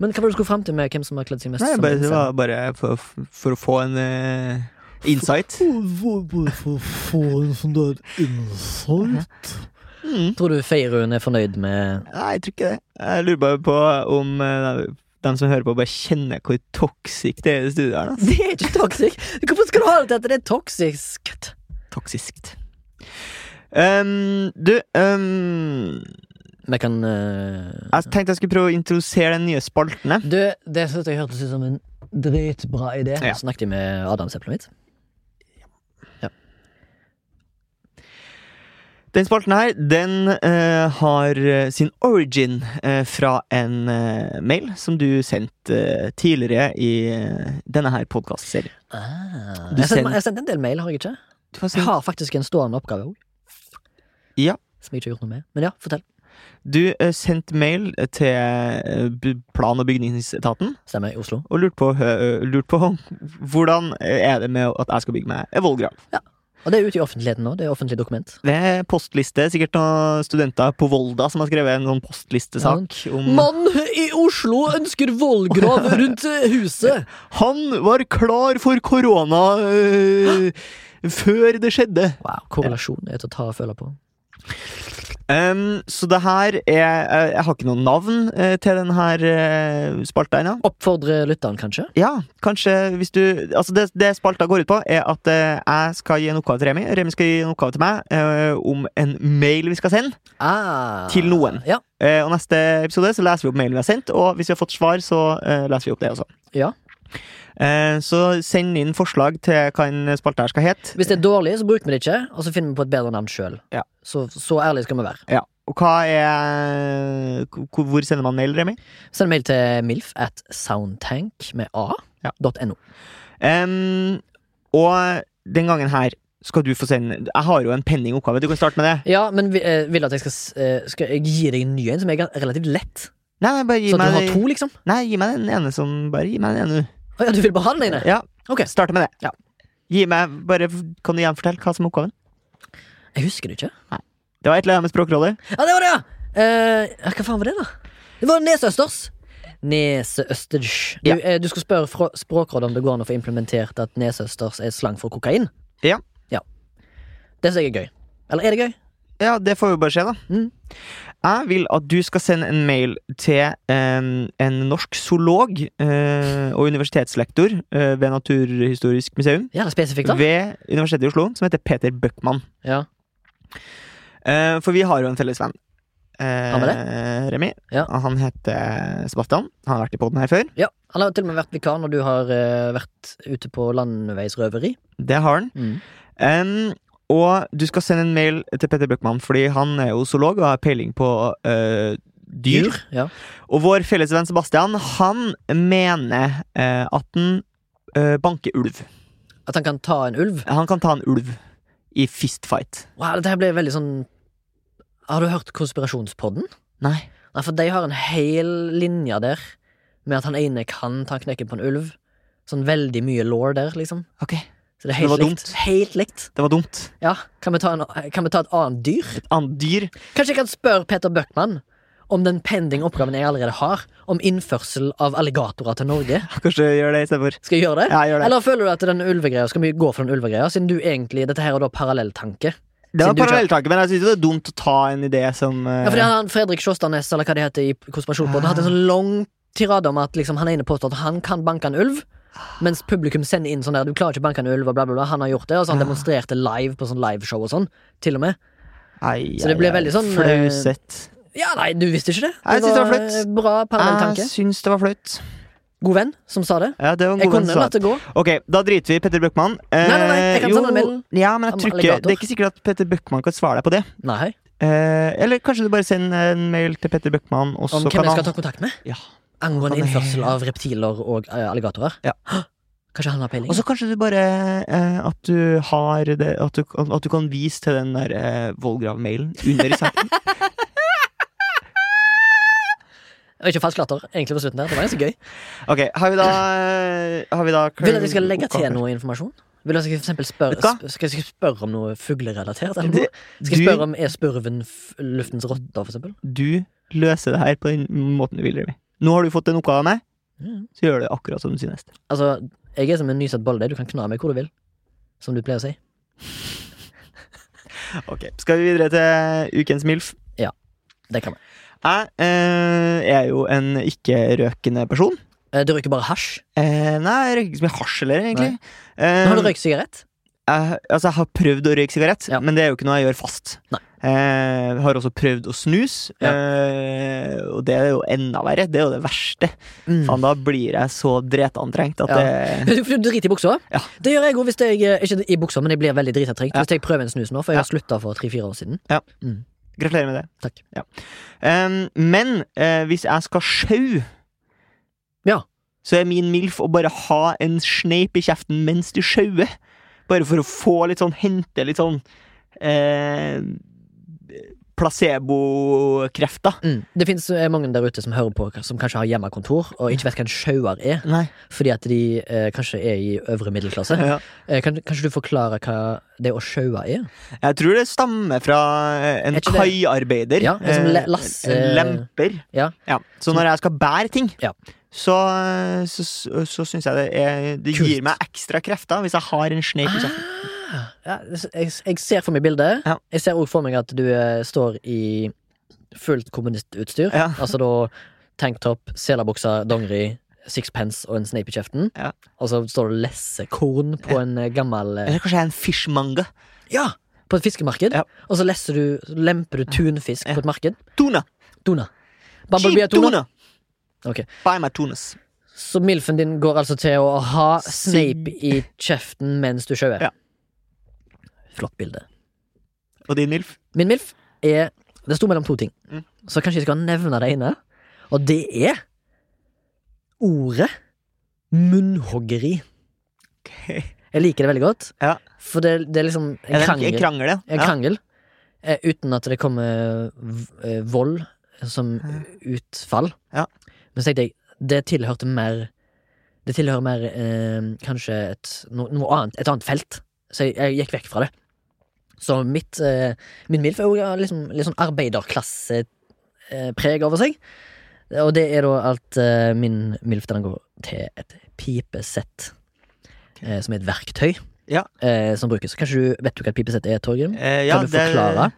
Men hva var det du skulle fram til med hvem som har kledd seg mest
Nei,
som
bare, det
incel?
var bare for, for å få en eh, insight.
Bare for å få en sånn der insight.
Mm.
Tror du Feirun er fornøyd med
Nei, jeg tror ikke det. Jeg lurer bare på om eh, de som hører på, bare kjenner hvor toxic det er i studioet her.
Det er ikke toxic! Hvorfor skal du ha det til at det er toxisk?
da. Toxiskt. Um, du, um,
Vi kan eh,
jeg tenkte jeg skulle prøve å introdusere den nye spaltene.
Du, det synes jeg hørtes ut som en dritbra idé.
Ja.
Så snakket jeg med adamseplet mitt.
Den spalten her, den eh, har eh, sin origin eh, fra en eh, mail som du sendte eh, tidligere i eh, denne her podkastserien.
Ah.
Du
Jeg har sendt-
send-
jeg har sendt en del mail, har jeg ikke?
Du har
Jeg
sendt
har faktisk en stående oppgave òg.
Ja.
Som jeg ikke har gjort noe med. Men ja, fortell.
Du eh, sendte mail til eh, bu- plan- og bygningsetaten
Stemmer. i Oslo.
og lurte på, hø- lurte på hvordan eh, er det med at jeg skal bygge meg en vollgrav.
Og det er ute i offentligheten nå. Det er offentlig dokument.
Det er postliste, sikkert noen studenter på Volda som har skrevet en sånn postlistesak om
Mann i Oslo ønsker vollgrav rundt eh, huset.
Han var klar for korona eh, før det skjedde.
Wow, Korrelasjon er til å ta og føle på.
Em, så det her er eh, Jeg har ikke noe navn eh, til den her uh, spalta ennå.
Oppfordre lytteren, kanskje?
Ja, kanskje hvis du Altså det, det spalta går ut på, er at eh, jeg skal gi en oppgave til Remi. Remi skal gi en oppgave til meg eh, om en mail vi skal sende
Ah.
til noen.
Ja.
Eh, og neste episode så leser vi opp mailen vi har sendt, og hvis vi har fått svar, så eh, leser vi opp det også.
Ja.
Eh, så send inn forslag til hva en spalte her skal hete.
Hvis det er dårlig, så bruker vi det ikke, og så finner vi på et bedre navn sjøl.
Ja.
Så, så ærlig skal vi være.
Ja. Og hva er hvor- Hvor sender man mail, Remi?
Send mail til milf at soundtank med a
Ja.
dot no.
Em, og den gangen her skal du få sende Jeg har jo en penningoppgave. Du kan starte med det.
Ja, men vi- eh, vil du at jeg skal, s- eh, skal jeg gi deg en ny en som er gan- relativt lett?
Nei, nei, bare gi
Så at du
meg
har to, liksom?
Nei, gi meg den ene som Bare gi meg den ene, du.
Å ja, du vil bare ha den ene?
Ja,
Ok.
Starte med det.
Ja.
Gi meg, bare, Kan du gjenfortelle hva som er oppgaven?
Jeg husker det ikke.
Det var et eller annet med Språkrådet.
Ja, det var det, ja! Eh, ja, hva faen var det, da? Det var Nesøsters. Neseøsters. Du,
Ja.
eh, du skal spørre fra Språkrådet om det går an å få implementert at nesøsters er slang for kokain.
Ja.
ja. Det syns jeg er gøy. Eller er det gøy?
Ja, det får vi bare se, da.
Mm.
Jeg vil at du skal sende en mail til em, en norsk zoolog eh, og universitetslektor eh, ved Naturhistorisk museum
Gjerne spesifikt, da.
ved Universitetet i Oslo, som heter Peter Bøckmann.
Ja.
Eh, for vi har jo en felles venn. Eh,
Har vi
Remi.
Ja.
Han heter Sebastian. Han har vært i poden her før.
Ja. Han har til og med vært vikar når du har eh, vært ute på landeveisrøveri.
Det har han. Em, og du skal sende en mail til Petter Bøckmann, fordi han er jo zoolog og har peiling på eh, dyr.
Ja.
Og vår felles venn Sebastian, han mener eh, at han eh, banker ulv.
At han kan ta en ulv.
Han kan ta en ulv i fistfight.
Wow, dette her ble veldig sånn Har du hørt Konspirasjonspodden?
Nei.
Nei, for de har en hel linje der med at han ene kan ta knekken på en ulv. Sånn veldig mye law der, liksom.
Ok,
Så det er
Det
helt
var
likt.
dumt.
Helt likt.
det var dumt.
Ja, kan vi ta, en, kan vi ta et annet dyr?
Et annet dyr.
Kanskje jeg kan spørre Peter Bøckmann om den pending oppgaven jeg allerede har, om innførsel av alligatorer til Norge.
Kanskje gjør det istedenfor.
Skal jeg gjøre det?
Ja, gjør det.
Eller føler du at den ulvegreia skal vi gå for den ulvegreia, siden du egentlig Dette her er da parallelltanke.
Det var
Siden du ikke-
parallelltanke, men jeg synes det er dumt å ta en idé som eh,
Ja, fordi han Fredrik Sjåstadnes, eller hva det heter i Konspirasjonspodden, hadde en sånn lang tirade om at liksom, han ene påstår at han kan banke en ulv, mens publikum sender inn sånn der Du klarer ikke å banke en ulv, og bla, bla, bla. Han har gjort det, og
Ah.
så han demonstrerte live på sånn liveshow og sånn. Til og med.
Ai,
Så det ble veldig sånn, eh,
Flauset.
Ja, nei, du visste ikke det.
Jeg synes det var
eh,
flaut.
Bra parallelltanke.
Jeg syns det var flaut.
God venn som sa det.
Ja, det var en
Jeg
god venn
kunne
som sa
latt det gå.
Ok, da driter vi i Petter Bøckmann. Eh,
Nei, nei, nei, jeg kan
jo,
sende en mail
Ja,
om
men jeg tror ikke,
alligator.
Det er ikke sikkert at Petter Bøckmann kan svare deg på det.
Nei.
Eh, eller kanskje du bare sender en mail til Petter Bøckmann, og så
Om hvem
kan
jeg skal
han
ta kontakt med?
Ja.
Angående
Han er-
innførsel av reptiler og eh, alligatorer?
Ja.
Hå! Kanskje han har peiling?
Og så kanskje du bare eh, at du har det At du, kan- at du kan vise til den der eh, Vollgrav-mailen under saken.
Og Ikke falsk latter, egentlig på slutten der. Det var ganske gøy.
Ok, har vi da eh, Har vi da
Vil du at jeg skal legge til noe informasjon? Vil du at jeg for eksempel spørre,
Vet du hva?
sp skal jeg spørre om noe fuglerelatert? Eller
Det-
noe? Skal jeg
du-
spørre om er spurven f- luftens rotte, for eksempel?
Du løser det her på den måten du vil, Remi. Nå har du fått en oppgave av meg,
Mm.
så gjør du det akkurat som du synes.
Altså, jeg er som en nysatt bolle. Du kan kna meg hvor du vil. Som du pleier å si.
Ok, Skal vi videre til ukens MILF?
Det kan vi.
Jeg eh, er jo en ikke-røkende person.
Eh, Du røyker bare hasj.
Eh, nei, jeg røyker ikke så mye hasj heller, egentlig.
Men
Eh,
Har du røykt sigarett?
jeg, altså, jeg har prøvd å røyke sigarett,
Ja.
men det er jo ikke noe jeg gjør fast.
Nei.
Eh, har også prøvd å snuse,
Ja.
eh, og det er jo enda verre. Det er jo det verste.
Mm.
Faen, da blir jeg så dretantrengt at
Ja.
det
Du du driter i buksa?
Ja.
Det gjør jeg òg, hvis jeg eh, Ikke i buksa, men jeg blir veldig dritatrengt.
Ja.
Hvis jeg prøver en snus nå, for jeg har slutta for tre-fire år siden.
Gratulerer med det.
Takk.
Ja. Em, men eh, hvis jeg skal sjau,
Ja.
så er min MILF å bare ha en sneip i kjeften mens du sjauer. Bare for å få litt sånn hente litt sånn eh, placebo-krefter.
Mm. Det fins mange der ute som hører på, som kanskje har hjemmekontor, og ikke vet hva en sjauer er,
Nei.
fordi at de eh, kanskje er i øvre middelklasse.
Ja.
Eh, kan, kanskje du forklarer hva det å sjaue er?
Jeg tror det stammer fra eh, en
Er ikke det-
kaiarbeider.
Ja, en som
eh,
le- lasse-
En lemper.
Ja.
Så når jeg skal bære ting,
Ja.
så, så, så, så syns jeg det, er, det
Kult.
gir meg ekstra krefter hvis jeg har en sneip i kjeften.
Ah, ja, jeg, jeg ser for meg bildet.
Ja.
Jeg ser òg for meg at du eh, står i fullt kommunistutstyr.
Ja.
Altså da tanktop, selabuksa, dongeri, sixpence og en sneip i kjeften.
Ja.
Og så står det og lesser korn på en eh, gammel eh,
Eller kanskje jeg er en fishmonger.
Ja! På et fiskemarked.
Ja.
Og så lesser du, så lemper du tunfisk
Ja.
på et marked.
Tuna.
Dona.
Cheap
Bumblebee er tuna.
tuna.
Ok.
Buy my tunas.
Så milfen din går altså til å ha
Sig-
Snape i kjeften mens du sjauer.
Ja.
Flott bilde.
Og din MILF?
Min milf er Det sto mellom to ting,
Mm.
så kanskje jeg skal nevne det ene. Og det er ordet munnhoggeri. Jeg liker det veldig godt,
Ja.
for det, det er liksom en
Er det en-
krangel.
En krangel, ja.
En krangel eh, Uten at det kommer v- eh, vold som utfall.
Ja.
Men så tenkte jeg det tilhørte mer Det tilhører mer eh, kanskje et, no, noe annet, et annet felt. Så jeg, jeg gikk vekk fra det. Så mitt, eh, min MILF er jo ja, liksom, litt sånn arbeiderklassepreg over seg. Og det er da at eh, min MILF den går til et pipesett. Eh, som er et verktøy
Ja.
eh, som brukes. Kanskje du Vet du hva et pipesett er, Torgrim?
Eh, ja,
Kan du forklare?
Det,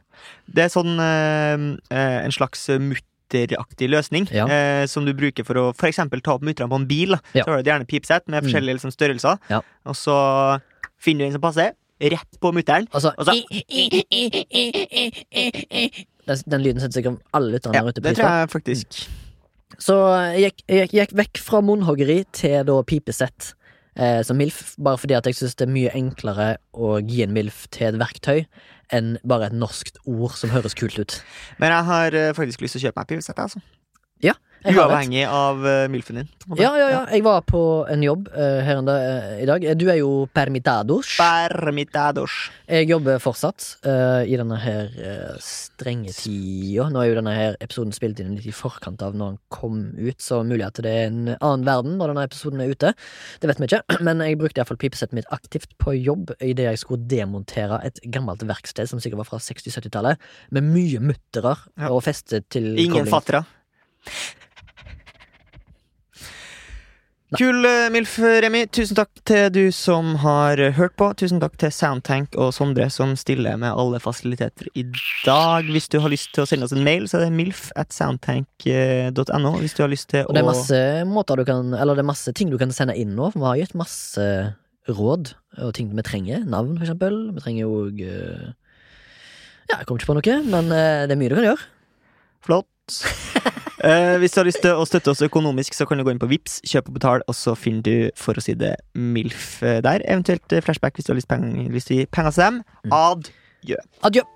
det er sånn eh, eh, en slags mutteraktig løsning
Ja.
eh, som du bruker for å for eksempel ta opp mutterne på en bil. da.
Ja.
Så har du gjerne pipsett med
Mm.
forskjellige liksom, størrelser,
Ja.
og så finner du en som passer. Rett på mutteren.
Altså,
Og så-
i- i- i- i- i- i- i- i- Den, den lyden setter sikkert alle lytterne
Ja,
der ute
det
pris
tror
på.
jeg faktisk.
Så eh, jeg gikk, jeg gikk- gikk vekk fra munnhoggeri til da pipesett eh, som MILF, bare fordi at jeg syns det er mye enklere å gi en MILF til et verktøy enn bare et norskt ord som høres kult ut.
Men jeg har eh, faktisk lyst til å kjøpe meg pivsett, jeg, altså.
Jeg har et.
Uavhengig av eh, milfen din. på en måte.
Ja, ja, ja. Jeg var på en jobb eh, her en dag, eh, i dag. Du er jo permitados.
Permitados.
Jeg jobber fortsatt eh, i denne her eh, strenge tida. Nå er jo denne her episoden spilt inn litt i forkant av når den kom ut, så mulig at det er en annen verden når denne episoden er ute. Det vet vi ikke, men jeg brukte iallfall pipesettet mitt aktivt på jobb idet jeg skulle demontere et gammelt verksted som sikkert var fra 60-70-tallet, med mye mutterer
Ja.
og feste til
Ingen
kobling.
fattere. Kul eh, Milf Remi. Tusen takk til du som har eh, hørt på. Tusen takk til Soundtank og Sondre som stiller med alle fasiliteter i dag. Hvis du har lyst til å sende oss en mail, så er det milf at eh, soundtank.no. Hvis du har lyst til
Og det er
å
masse måter du kan Eller det er masse ting du kan sende inn nå, for vi har gitt masse råd og ting vi trenger. Navn, for eksempel. Vi trenger jo òg Ja, jeg kom ikke på noe, men eh, det er mye du kan gjøre.
Flott. Eh, hvis du har lyst til å støtte oss økonomisk, så kan du gå inn på Vips, kjøp og betal, og så finner du, for å si det, MILF eh, der. Eventuelt eh, flashback hvis du har lyst, peng, lyst til å gi penger til dem.
Mm.
Ad.
Adjø.